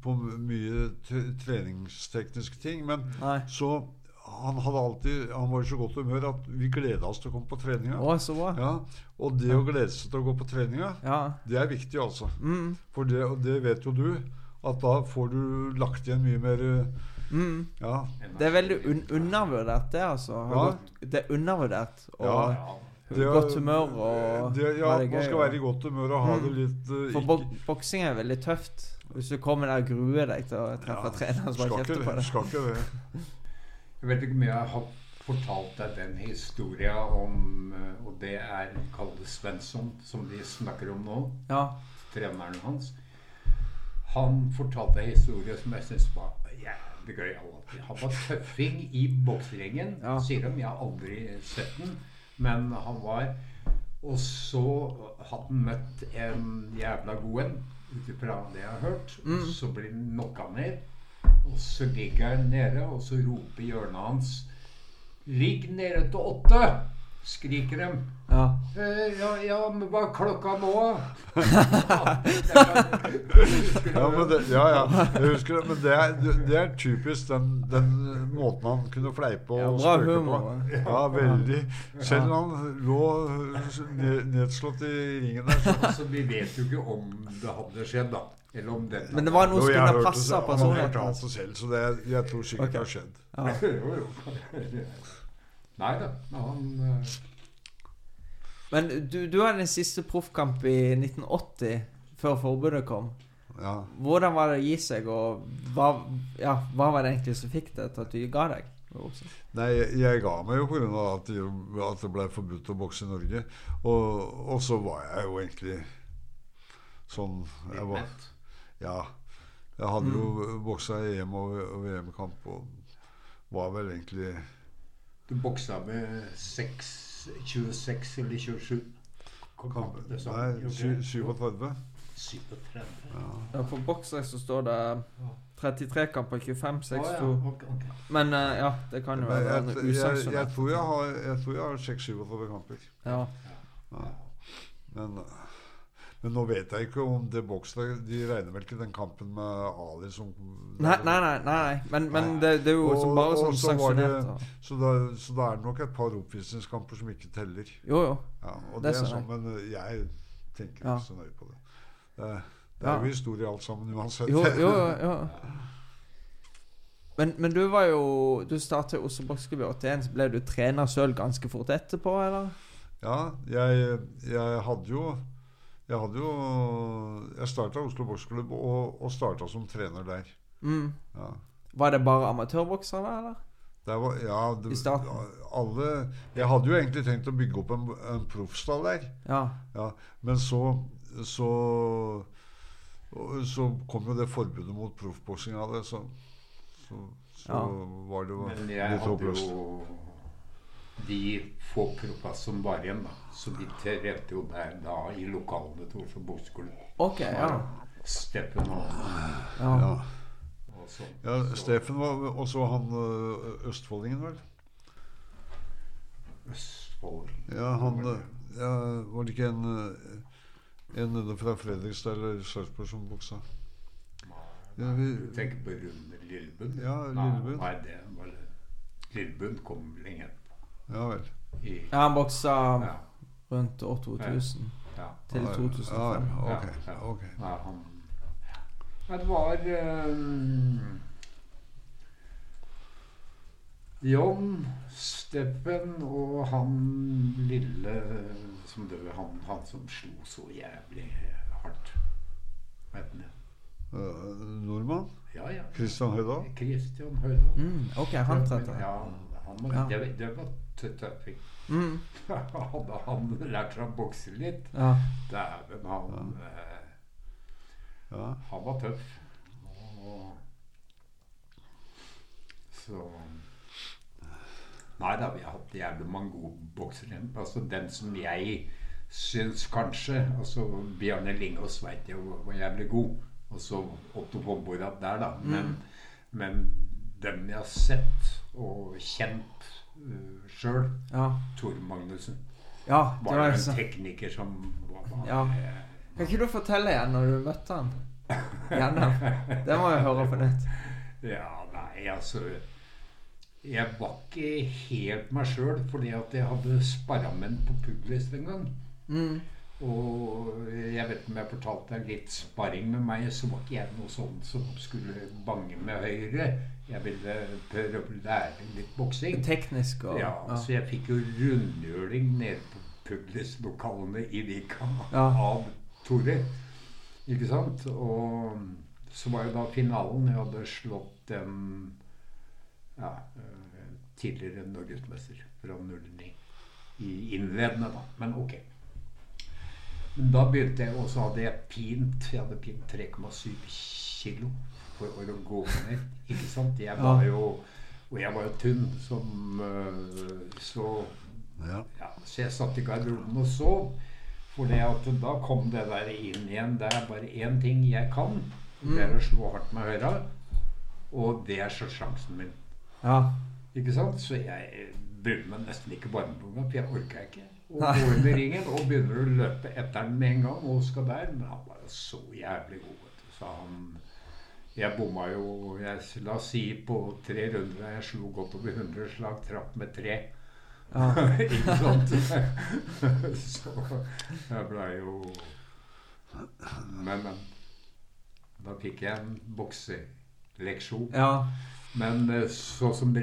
C: på mye t- treningstekniske ting, men
B: Nei.
C: Så han hadde alltid Han var i så godt humør at vi gleda oss til å komme på treninga.
B: Å, så bra.
C: Ja, og det å glede seg til å gå på treninga,
B: Ja.
C: det er viktig, altså.
B: Mm.
C: For det, og det vet jo du, at da får du lagt igjen mye mer eh,
B: Mm.
C: Ja.
B: Det er veldig un undervurdert, det, altså. Har
C: Ja.
B: gått- Det er undervurdert. Og
C: Ja. Det er-
B: Godt humør og
C: det, Ja,
B: være
C: man
B: gøy,
C: skal
B: og-
C: være i godt humør og ha det litt eh,
B: For
C: ikke-
B: bok boksing er veldig tøft. Hvis du kommer der og gruer deg til å treffe
C: Ja,
B: treneren som
C: skal
B: bare
C: ikke
B: kjefter på
C: det,
B: deg.
C: Skal ikke det.
A: Jeg vet ikke om jeg har fortalt deg den historia om eh, Og det er Kalle Svensson, som de snakker om nå.
B: Ja.
A: treneren hans. Han fortalte en historie som jeg syns var jævlig gøy. Han var tøffing i bokseringen.
B: Ja.
A: Sier de. Jeg har aldri sett den. Men han var Og så hadde han møtt en jævla god en, ut ifra det jeg har hørt.
B: Mm.
A: Så blir han knocka ned. Og så ligger han nede, og så roper hjørnet hans 'Ligg nede til åtte!' skriker de.
B: ja.
A: Eh, Ja, ja, men hva er klokka nå?
C: Ja, men det, ja, ja. Jeg husker det. Men det er, det er typisk den, den måten han kunne fleipe
B: Ja,
C: og
B: bra
C: spøke på.
B: humor, da.
C: Ja, veldig. Selv om han lå ned- nedslått i ringen der. så-
A: Altså, vi vet jo ikke om det hadde skjedd, da. Eller om det
B: Men det var noe
C: Jo,
B: som
C: jeg har
B: kunne
C: hørt det
B: passa
C: selv. Han har
B: personligheten.
C: fortalt det altså. selv, så det, jeg tror sikkert
B: sånn, Ok.
C: det har skjedd.
B: Ja.
A: Jo, jo. Nei da. Han eh,
B: Men du, du hadde din siste proffkamp i 1980, før forbudet kom.
C: Ja.
B: Hvordan var det å gi seg, og hva, ja, hva var det egentlig som fikk deg til at du ga deg?
C: Nei, jeg, jeg ga meg jo pga. At, de- at det ble forbudt å bokse i Norge. Og, og så var jeg jo egentlig sånn
A: litt
C: jeg
A: Mm.
C: var,
A: mett.
C: Ja. Jeg hadde jo boksa i EM og, og VM-kamp og var vel egentlig
A: Du boksa med seks- 26 eller 27
C: kamp,
A: Det sa-
C: Nei,
A: ok.
C: sy- 37.
A: 37.
B: Ja, for boksere så står det 33 kamper, 25,
A: Å,
B: 6,
A: ja,
B: 2
A: ok, ok.
B: Men eh, ja, det kan jo
C: Men
B: være
C: Jeg,
B: en
C: jeg, jeg,
B: usanksjonert.
C: tror jeg har, jeg tror jeg har 6-37 kamper.
B: Ja.
C: Ja. Men, men nå vet jeg ikke om det boksere De regner vel ikke den kampen med Ali som
B: Nei, nei, nei, nei, nei. Men, men
C: Nei.
B: det, det er jo
C: Og-
B: som bare
C: og
B: sånn
C: så var det-
B: sanksjonert. da.
C: Så da, så da er det nok et par oppvisningskamper som ikke teller.
B: Jo, jo.
C: Ja, og
B: Det
C: det, er
B: ser jeg.
C: sånn, men eh, jeg tenker
B: Ja.
C: ikke så nøye på det. Det, det er
B: Ja.
C: jo historie alt sammen uansett.
B: Jo, jo, jo. jo. Men, men du var jo Du startet i Oslo Boksklubb i 81. Så ble du trener sjøl ganske fort etterpå, eller?
C: Ja, jeg, jeg hadde jo Jeg hadde jo Jeg starta Oslo Boksklubb og, og starta som trener der.
B: Mm.
C: Ja.
B: Var det bare amatørboksere, da, eller?
C: Der var, ja, det,
B: I starten.
C: alle Jeg hadde jo egentlig tenkt å bygge opp en, en proffstall der.
B: Ja.
C: Ja, men så så, og så kom jo det forbudet mot proffboksing av det, så, så, så
B: Ja.
C: var det jo
A: Men jeg
C: litt
A: hadde
C: håpløst.
A: jo de få proppa som var igjen, da. Så de trente jo der da i lokalene til Oslo Bokskole.
B: Ok, ja.
A: Steppen og,
B: ja.
C: Ja.
A: og sånn.
C: ja,
A: Så-
C: Steffen var og så han ø, østfoldingen, vel?
A: Østfold.
C: Ja, han ø, ja, Var det ikke en ø, en nede fra Fredrikstad eller Sarpsborg som boksa? Ja, vi,
A: Du tenker på Rune Lillebund?
C: Ja,
A: Nei,
C: Lillebund.
A: Nei, det var det- Lillebund kom lenge
C: ja vel.
A: i
B: Ja, han boksa
A: Ja.
B: rundt år 2000
A: ja.
B: til
C: Ja,
B: 2005.
C: Ja, ok,
A: Ja, ja.
C: ok.
A: Nei, han Nei, det var eh, John, Steppen og han lille som døde, han, han som slo så jævlig hardt. Vet du det?
C: Ø, Eh, nordmann?
A: Ja, ja.
C: Christian Høydahl?
A: Kristian Høydahl.
B: Mm, ok, han trente.
A: Ja, han var,
B: Ja.
A: Det, det var tø- tøffing.
B: Mm,
A: Hadde han lært seg å bokse litt
B: ja.
A: Dæven, han, eh,
C: Ja.
A: han var tøff. Og- Så Nei da, vi har hatt jævlig mange gode boksere. Altså den som jeg syns kanskje altså Bjarne Lingås veit jeg var var jævlig god. Og så Otto von Borat der, da. Men,
B: Mm.
A: men dem jeg har sett og kjent uh, sjøl,
B: ja.
A: Tor Magnussen,
B: Ja, det
A: var
B: var
A: jo
B: jo
A: en
B: sånn.
A: tekniker som var, var
B: Ja.
A: eh,
B: Kan ikke du fortelle igjen når du møtte han? Gjerne. Det må jeg høre på nytt.
A: Ja, nei, altså Jeg var ikke helt meg sjøl fordi at jeg hadde sparra med en på Puglis en gang.
B: Mm.
A: Og jeg vet ikke om jeg fortalte deg litt sparring med meg, så var ikke jeg noe sånn som skulle bange med høyre. Jeg ville prøve å lære litt boksing.
B: Teknisk og
A: Ja,
B: ja.
A: så jeg fikk jo rundhjuling nede på publislokalene i Vika
B: Ja.
A: av Tore. Ikke sant? Og så var jo da finalen. Jeg hadde slått en ja, eh, tidligere norgesmester fra 09. I innledende, da. Men ok. Men da begynte jeg, og så hadde jeg pint Jeg hadde pint 3,7 kilo for å gå ned. Ikke sant? Jeg var
B: Ja.
A: jo Og jeg var jo tynn som eh, Så
C: Ja.
A: ja, så jeg satt i garderoben og sov. For det at da kom det der inn igjen. Det er bare én ting jeg kan. Det er å slå hardt med høyra. Og det er sjansen min.
B: ja.
A: Ikke sant? Så jeg brydde meg nesten ikke bare med noen gang, for jeg orka ikke. Og
B: Nei.
A: går inn i ringen og begynner å løpe etter den med en gang. Og skal der. Men han var jo så jævlig god, vet du. Så han Jeg bomma jo jeg, La oss si på tre runder jeg slo godt over 100 slag, trapp med tre.
B: Ja.
A: ikke sant? så jeg blei jo Men, men. Da fikk jeg en bokseleksjon.
B: ja.
A: Men eh, så som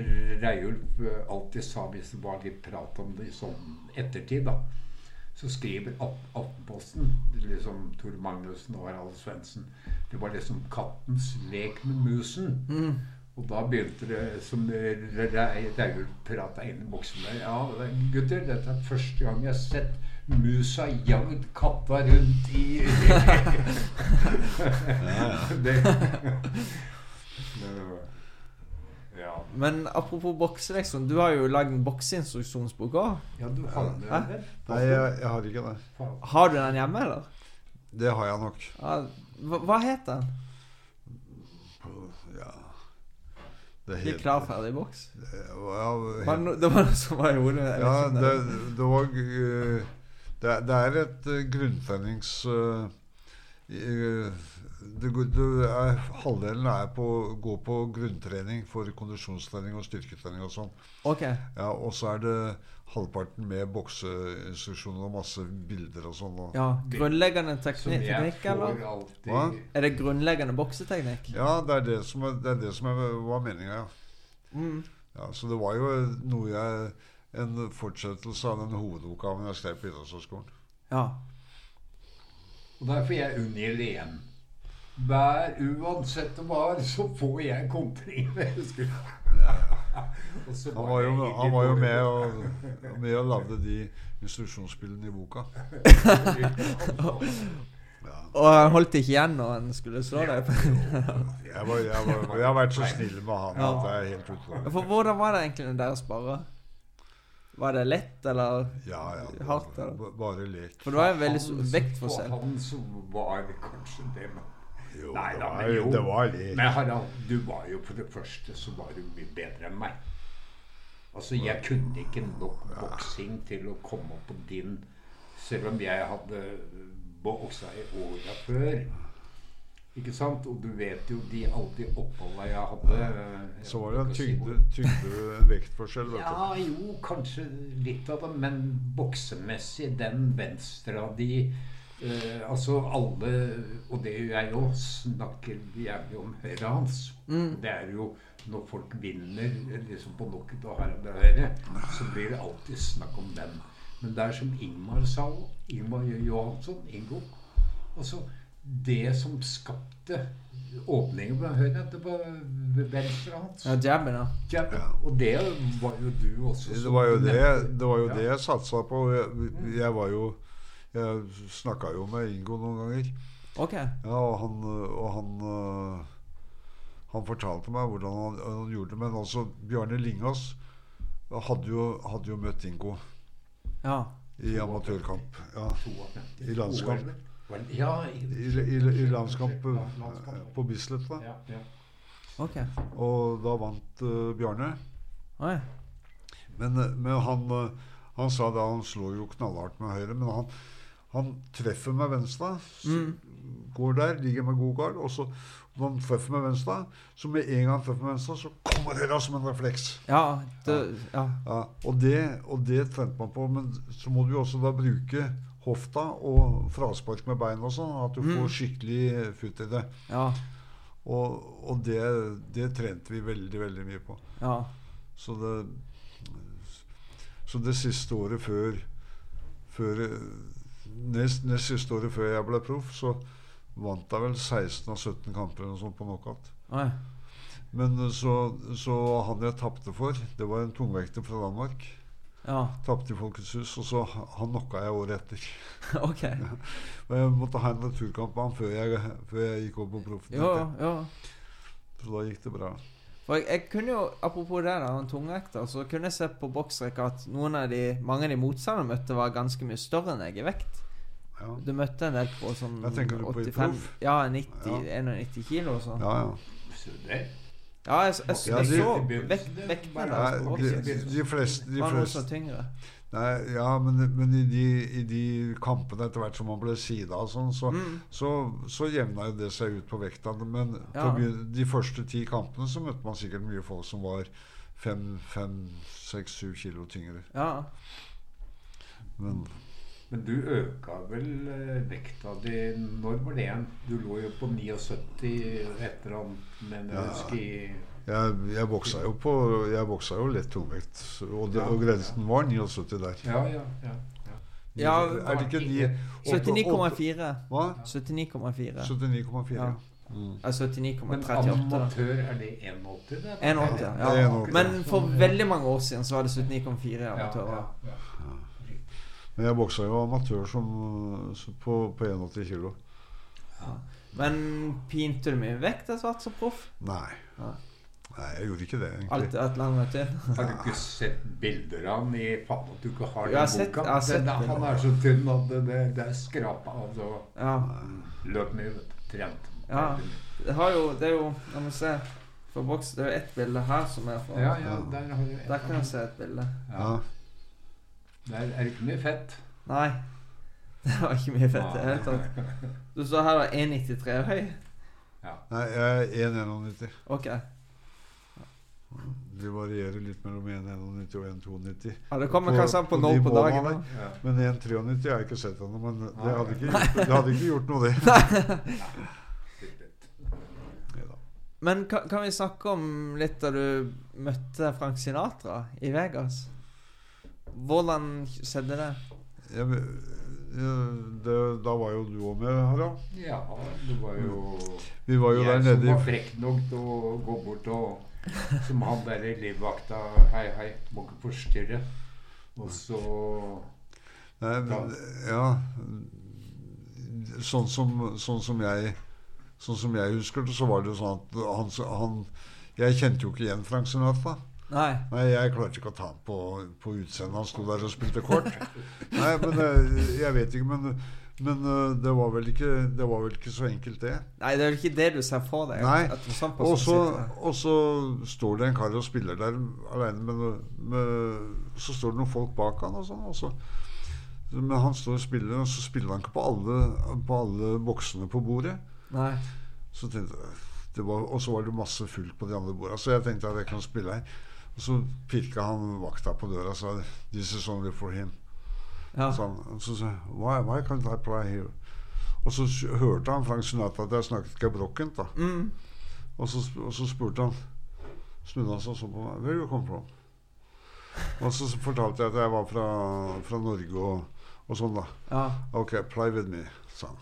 A: Reiulf eh, alltid sa hvis det var litt prat om det i sånn ettertid, da, så skriver Af- Aftenposten, liksom Tor Magnussen og Harald Svendsen Det var liksom kattens lek med musen.
B: Mm.
A: Og da begynte det som Reiulf prata inn i boksen der. Ja, det- gutter, dette er første gang jeg har sett musa jagd katta rundt i det, det var- Ja.
B: Men apropos bokseleksjon, du har jo lagd en bokseinstruksjonsbok òg.
A: Ja, du hadde
B: Hæ?
A: den der.
C: Nei, jeg, jeg har ikke det.
A: Faen.
B: Har du den hjemme, eller?
C: Det har jeg nok.
B: Ja. Hva, hva het den?
C: På- Ja. Det
B: Ikke klar, ferdig boks?
C: Ja,
B: Var det, no, det var noe som var i hodet? jeg
C: ja
B: vet ikke om
C: det, liksom
B: det-
C: det var eh, Det, er- det er et eh, grunntrenings... eh, eh, det, går- det er, halvdelen er på gå på grunntrening for kondisjonstrening og styrketrening og sånn.
B: Ok.
C: Ja, og så er det halvparten med bokseinstruksjoner og masse bilder og sånn. Og, ja.
B: Ja, grunnleggende
A: Som
B: teknikk,
A: jeg
B: teknikk,
A: får
B: eller?
A: alltid
C: Hva?
B: Er det grunnleggende bokseteknikk?
C: det er det som, er, det er det som er, var meninga, ja.
B: Mm.
C: Ja, så det var jo noe jeg, en fortsettelse av den hovedoppgaven jeg skrev på idrettshøyskolen.
B: Ja.
A: Og der får jeg unngjeld igjen. Hver uansett det var, så får jeg kontring. Jeg husker det. Og så
C: Han var jo,
A: det
C: han var jo
A: dårlig.
C: med, og, med og lagde de instruksjonsbildene i boka. Ja.
B: Og han holdt ikke igjen når han skulle slå deg?
C: Jeg, var, jeg, var, jeg har vært så snill med han at det er helt utrolig.
B: For hvordan var det egentlig når dere sparra? Var det lett, eller?
C: Ja, ja. det
B: Hardt,
C: var
B: eller?
C: b- Bare lek.
B: For det var en veldig
A: Han-
B: stor vektforskjell.
A: For han som var kanskje det, men
C: Jo,
A: Nei
C: det
A: da,
C: var,
A: men jo.
C: det var lek.
A: Men Harald, du var jo for det første så var du mye bedre enn meg. Altså, jeg kunne ikke nok boksing til å komme opp på din Selv om jeg hadde boksa i åra før. Ikke sant? Og du vet jo de alltid oppholda jeg hadde eh, jeg
C: Så var
A: vet ikke å
C: det en
A: si
C: tyngde,
A: hvor-
C: tyngde en vektforskjell, vet du.
A: Ja, jo, kanskje litt av det, men boksemessig, den venstra di eh, Altså alle, og det gjør jeg òg, snakker jævlig om høyre hans. Det er jo når folk vinner eh, liksom på knocket og har det høyre, så blir det alltid snakk om den. Men det er som Ingmar sa også, Ingmar Johansson, Ingo Altså, det som skapte åpningen på høyre, det var venstre hans.
B: Ja, jabben, ja.
A: Ja, og det var jo du også.
C: Det
A: som
C: var jo
A: nevnte.
C: det, det, var jo
A: Ja.
C: det jeg satsa på. Jeg, jeg var jo Jeg snakka jo med Ingo noen ganger.
B: Ok.
C: Ja, og han, øh, og han øh, Han fortalte meg hvordan han, han gjorde det. Men altså, Bjarne Lingås hadde jo, hadde jo møtt Ingo
B: Ja.
C: i amatørkamp. Ja.
A: 52
C: I landskamp.
A: år, vel? Ja, i,
C: I, i, I landskamp øh, på Bislett, da.
A: ja, ja.
B: Ok.
C: Og da vant øh, Bjarne.
B: Oi.
C: Men, øh, men han, øh, han sa da han slår jo knallhardt med høyre, men han, han treffer med venstre. s-
B: Mm.
C: Går der, ligger med god gard. Og så når han treffer med venstre, så med en gang han treffer med venstre, så kommer høyre som en refleks.
B: Ja, det, ja.
C: Ja, og det, og det trente man på, men så må du jo også da bruke hofta og fraspark med bein og sånn, at du
B: Mm.
C: får skikkelig futt i det.
B: Ja.
C: Og, og det, det trente vi veldig, veldig mye på.
B: Ja.
C: Så det, så det siste året før, før nest, nest siste året før jeg ble proff, så vant jeg vel 16 av 17 kamper eller noe sånt på knockout.
B: Oi.
C: Men så, så han jeg tapte for, det var en tungvekter fra Danmark.
B: Ja.
C: Tapte i Folkets hus, og så han knocka jeg året etter.
B: OK.
C: Og jeg måtte ha en returkamp med han før jeg, før jeg gikk over på proffen.
B: Jo,
C: tenkte jeg.
B: jo.
C: Så da gikk det bra.
B: For jeg, jeg kunne jo, apropos det, da, en tungvekter, så kunne jeg se på boksrekka at noen av de, mange av de motstanderne møtte, var ganske mye større enn jeg i vekt.
C: Ja,
B: Du møtte en del på sånn
C: Jeg tenker du på i
B: 85
C: proff?
B: Ja, 90, 91 kilo og sånn.
C: ja. ja.
A: Så det
B: Ja, jeg, jeg,
A: Ja,
B: jeg,
C: de-
B: så vekt, vektene
A: Ja,
B: deres
C: Nei,
B: på
A: det-
C: de,
B: boksen.
C: de fleste, de
B: Var noe som
C: fleste
B: var tyngre.
C: Nei, ja, men, men i, de, i de kampene etter hvert som man ble sida og sånn, så,
B: Mm.
C: så, så jevna jo det seg ut på vekta. Men
B: Ja.
C: på begyn- de første ti kampene så møtte man sikkert mye folk som var fem-seks-sju kilo tyngre.
B: Ja.
C: Men
A: Men du øka vel eh, vekta di Når var det igjen? Du lå jo på 79 etter han med
C: Ja.
A: Nøski.
C: jeg, jeg voksa jo på Jeg voksa jo lett tungvekt, og, det,
A: Ja,
C: og grensen var 79 der.
A: Ja, ja, ja. ja.
B: Ja,
C: er det ikke ni- åtte- åtte-
B: 79,4.
C: Hva?
B: 79,4.
C: 79,4.
B: Ja.
C: Mm.
B: Ja,
A: Men
B: 79,38.
A: amatør, er det 1,80? det?
B: 1,80,
C: Ja, det er
B: ja.
C: 1,80.
B: Men for veldig mange år siden så var det 79,4
A: Ja, ja,
B: amatører.
A: ja.
C: Men jeg boksa jo amatør som, på, på 81 kilo.
B: Men pinte du mye vekt etter hvert som proff?
C: Nei.
B: Nei.
C: Nei, jeg gjorde ikke det, egentlig.
B: Alt et land, vet du.
A: Har du ikke sett bilder av han i Faen at du ikke har
B: Jeg har
A: den
B: sett-
A: boka?
B: jeg har sett
A: Den er- han
B: bilder.
A: er så tynn at det, det, det er skrapa. Altså,
B: Ja.
A: løp mye, vet du. Trent.
B: Ja. Det har jo Det er jo La meg se. For boks Det er jo ett bilde her som er fra
A: ja, ja, der har du
B: Der kan jeg se et bilde.
A: Ja,
C: Ja.
A: der er det ikke mye fett.
B: Nei. Det var ikke mye fett i det hele tatt.
A: Nei.
B: Du så her var 1,93 høy.
C: Nei, jeg er 1,91.
B: Ok.
C: Det varierer litt mellom 1,91 og 1,92.
B: Ja, det kommer
C: På-
B: kanskje an på
C: på
B: når på
C: nivået
B: dagen.
C: var
B: da.
A: Ja.
C: Men 1,93 har jeg ikke sett ennå. Men det
A: Nei.
C: hadde ikke gjort, det hadde ikke gjort noe, det. Neida.
B: Men kan, kan vi snakke om litt da du møtte Frank Sinatra i Vegas? Hvordan skjedde det?
C: Jeg, jeg- det, da var jo du òg med, Harald.
A: ja, det var jo
C: Vi var jo der
A: jeg som
C: nede
A: var
C: i
A: frekk nok til å gå bort og Som han der i livvakta Hei, hei, må ikke forstyrre. Og så
C: Nei, men, ja sånn som, sånn som jeg Sånn som jeg husker det, så var det jo sånn at han, han Jeg kjente jo ikke igjen Frank Sinatra.
B: Nei.
C: Nei, jeg klarte ikke å ta ham på, på utseendet. Han sto der og spilte kort. Nei, men jeg, jeg vet ikke, men, men eh, det, var vel ikke, det var vel ikke så enkelt, det.
B: Nei, det er jo ikke det du ser for deg.
C: Nei.
B: At det er sånn person
C: Og så,
B: sitter der.
C: og så står det en kar og spiller der aleine, men med, så står det noen folk bak han og sånn. Og så, men han står og spiller, og så spiller han ikke på alle, på alle boksene på bordet.
B: Nei.
C: Så tenkte jeg det var, Og så var det masse fullt på de andre borda, så jeg tenkte at jeg kan spille her. Og så pirka han vakta på døra og sa 'This is only for him'.
B: Ja.
C: Så, han, og så sa jeg 'Why, why can't I play here?' Og så s- hørte han Frank Sinatra at jeg snakket gebrokkent, da.
B: Mm.
C: Og så, sp- og så spurte han Snudde han seg og så på meg. 'Where you come from?' Og så s- fortalte jeg at jeg var fra, fra Norge og, og sånn, da.
B: Ja.
C: 'Ok, play with me', sa han.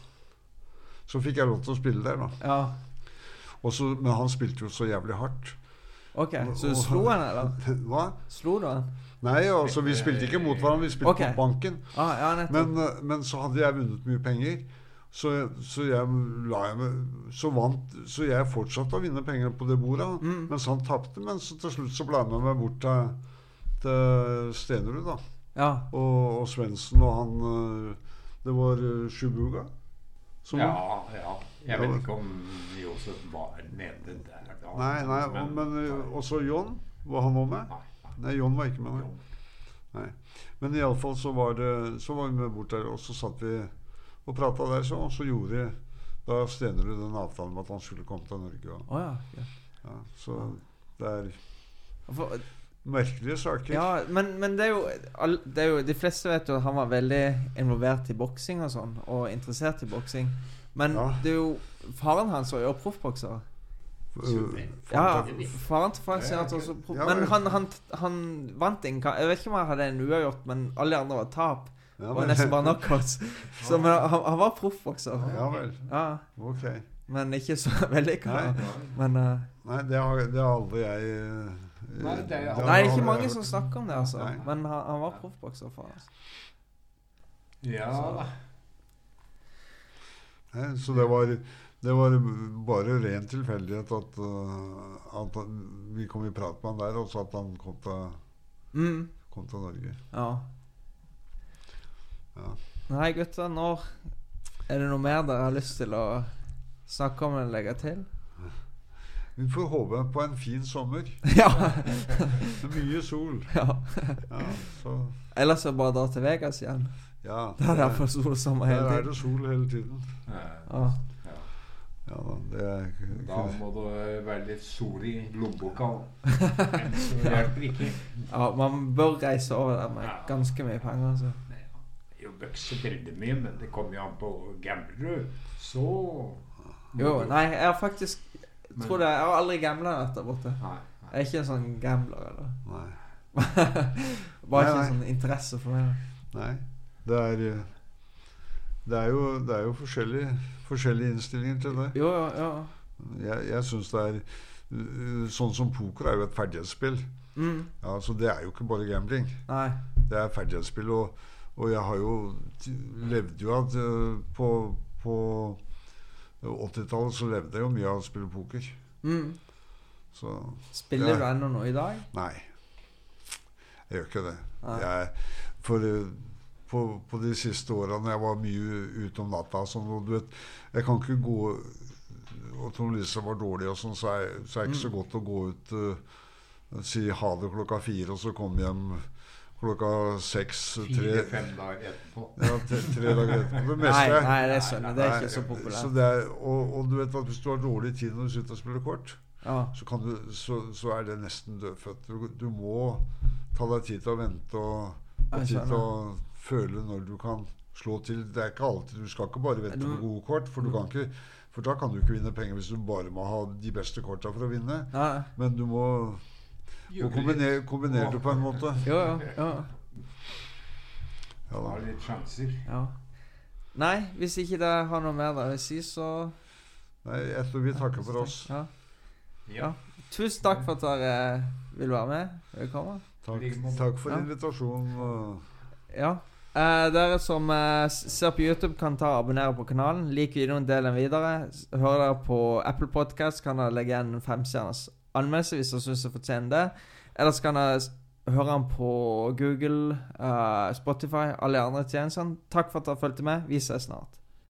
C: Så fikk jeg lov til å spille der, da.
B: Ja.
C: Og så, men han spilte jo så jævlig hardt.
B: OK. Så du slo han, eller?
C: Hva?
B: Slo du han?
C: Nei, altså vi spilte ikke mot hverandre, vi spilte
B: Ok.
C: på banken.
B: Ah, ja, nettopp.
C: Men, eh, men så hadde jeg vunnet mye penger. Så, så jeg la jeg meg Så vant Så jeg fortsatte å vinne penger på det bordet
B: Mm.
C: mens han tapte. Men så til slutt så ble jeg med meg bort til, til Stenerud, da.
B: Ja.
C: Og, og Svendsen og han eh, Det var eh, Sjubuga som
A: Ja,
C: vant.
A: ja. Jeg vet ikke om Josef var nede der da.
C: Nei, nei, og, men eh, også John var han òg med.
A: Nei, nei.
C: Nei, John var ikke med. Nei. Men iallfall så var det Så var vi med bort der, og så satt vi og prata der, så, og så gjorde da Stenerud den avtalen med at han skulle komme til Norge. Og,
B: Å ja.
C: ja, så det er
B: For,
C: Merkelige saker.
B: Ja, men, men det, er jo, all- det er jo De fleste vet jo at han var veldig involvert i boksing og sånn, og interessert i boksing. Men
C: Ja.
B: det er jo faren hans var jo proffbokser.
C: Eh,
B: Ja,
A: Faren til-
B: faren til
A: Ja,
B: Frank
A: ja,
B: Sinatra også proff.
C: ja,
B: Men
C: ja.
B: han, han, han vant en kamp Jeg vet ikke om han hadde en uavgjort, men alle de andre var tap.
C: ja
B: Og
C: vel.
B: nesten bare knockouts. Så men han, han var proffbokser.
C: Ja vel.
B: Ja,
C: Ok.
B: men ikke så vellykka.
C: Nei.
B: Men eh,
C: Nei, det har, det har aldri jeg eh,
A: Nei, det er-
C: har
A: Ja,
B: Nei,
A: det
C: aldri
B: ikke
C: jeg
B: mange
C: hørt.
B: som snakker om det, altså.
C: Nei.
B: Men han, han var proffbokser, faren. Altså.
A: Ja da.
C: Nei, Eh, Så det var, det var bare ren tilfeldighet at, eh, at han- vi kom i prat med han der, og så at han kom til,
B: Mm.
C: kom til Norge.
B: Ja.
C: Ja.
B: Nei, gutter, nå er det noe mer dere har lyst til å snakke om eller legge til?
C: Vi får håpe på en fin sommer.
B: ja.
C: Med mye sol.
B: ja.
C: Ja, så,
B: Ellers er det bare å dra til Vegas igjen.
C: ja
B: Der er det for sol sommer
C: der
B: hele
C: er
B: tiden.
C: det sol hele tiden.
A: Ja.
B: Ja.
A: Ja.
C: Ja da, det er
A: Da må det være litt sol i lommeboka. Så hjelper ikke.
B: ja, man bør reise over der med ganske mye penger, altså.
A: Jo, bøkser veldig mye, men det kommer jo an på gambler du. Så må
B: Jo,
A: du-
B: nei, jeg har faktisk tror det, Jeg har aldri gambla der borte.
A: Nei, nei.
B: Jeg er ikke en sånn gambler, eller.
C: Nei.
B: Bare ikke
C: Nei,
B: en sånn interesse for meg. da.
C: nei. Det er, eh, det er jo, det er jo forskjellige, forskjellige innstillinger til det.
B: Jo, jo, jo.
C: Jeg, jeg syns det er eh, Sånn som poker er jo et ferdighetsspill.
B: Mm.
C: Ja, så det er jo ikke bare gambling.
B: Nei.
C: Det er ferdighetsspill. Og, og jeg har jo t- levd jo av eh, På, på 80-tallet så levde jeg jo mye av å spille poker.
B: Mm.
C: Så
B: Spiller
C: Ja.
B: du ennå noe i dag?
C: nei. Jeg gjør ikke det.
B: Nei.
C: Jeg, for eh, på, på de siste årene jeg var mye ute om natta og sånn, og du vet Jeg kan ikke gå Og Trond Lise var dårlig og sånn, så er, så er det ikke
B: Mm.
C: så godt å gå ut eh, Si ha det klokka fire, og så komme hjem klokka seks. Tre,
A: Fire-fem dager etterpå.
C: Ja, tre, tre dager etterpå. Det
B: Nei,
C: meste
B: nei, det skjønner jeg. Det er
C: Nei,
B: ikke så
C: Så
B: populært.
C: det er, og, og du vet at hvis du har dårlig tid når du sitter og spiller kort,
B: Ja.
C: så, kan du, så, så er det nesten dødfødt. Du, du må ta deg tid til å vente og, og
B: Jeg
C: tid til å
B: skjønner.
C: føle når du kan slå til. Det er ikke alltid Du skal ikke bare vente
B: Du-
C: på gode kort, for, du
B: Mm.
C: kan ikke, for da kan du ikke vinne penger hvis du bare må ha de beste korta for å vinne.
B: ja.
C: Men du må, må kombinere, kombinere det på en måte.
B: Jo, jo, jo.
C: Ja,
A: Ha
C: da.
A: litt sjanser.
B: Ja. Nei, hvis ikke det har noe mer dere vil si, så
C: Nei, jeg tror vi takker for oss.
B: Ja.
A: Ja.
B: Tusen takk for at dere vil være med. Velkommen.
C: Takk, takk for
B: Ja.
C: invitasjonen. og-
B: Ja. Eh, dere som eh, s- ser på YouTube, kan ta og abonnere på kanalen. Lik videoen, del den videre. S- Hører dere på Apple Podcast, kan dere legge igjen en femstjerners anmeldelse hvis dere syns dere fortjener det. Ellers kan dere s- høre den på Google, eh, Spotify, alle de andre tjenestene. Takk for at dere fulgte med. Vi ses snart.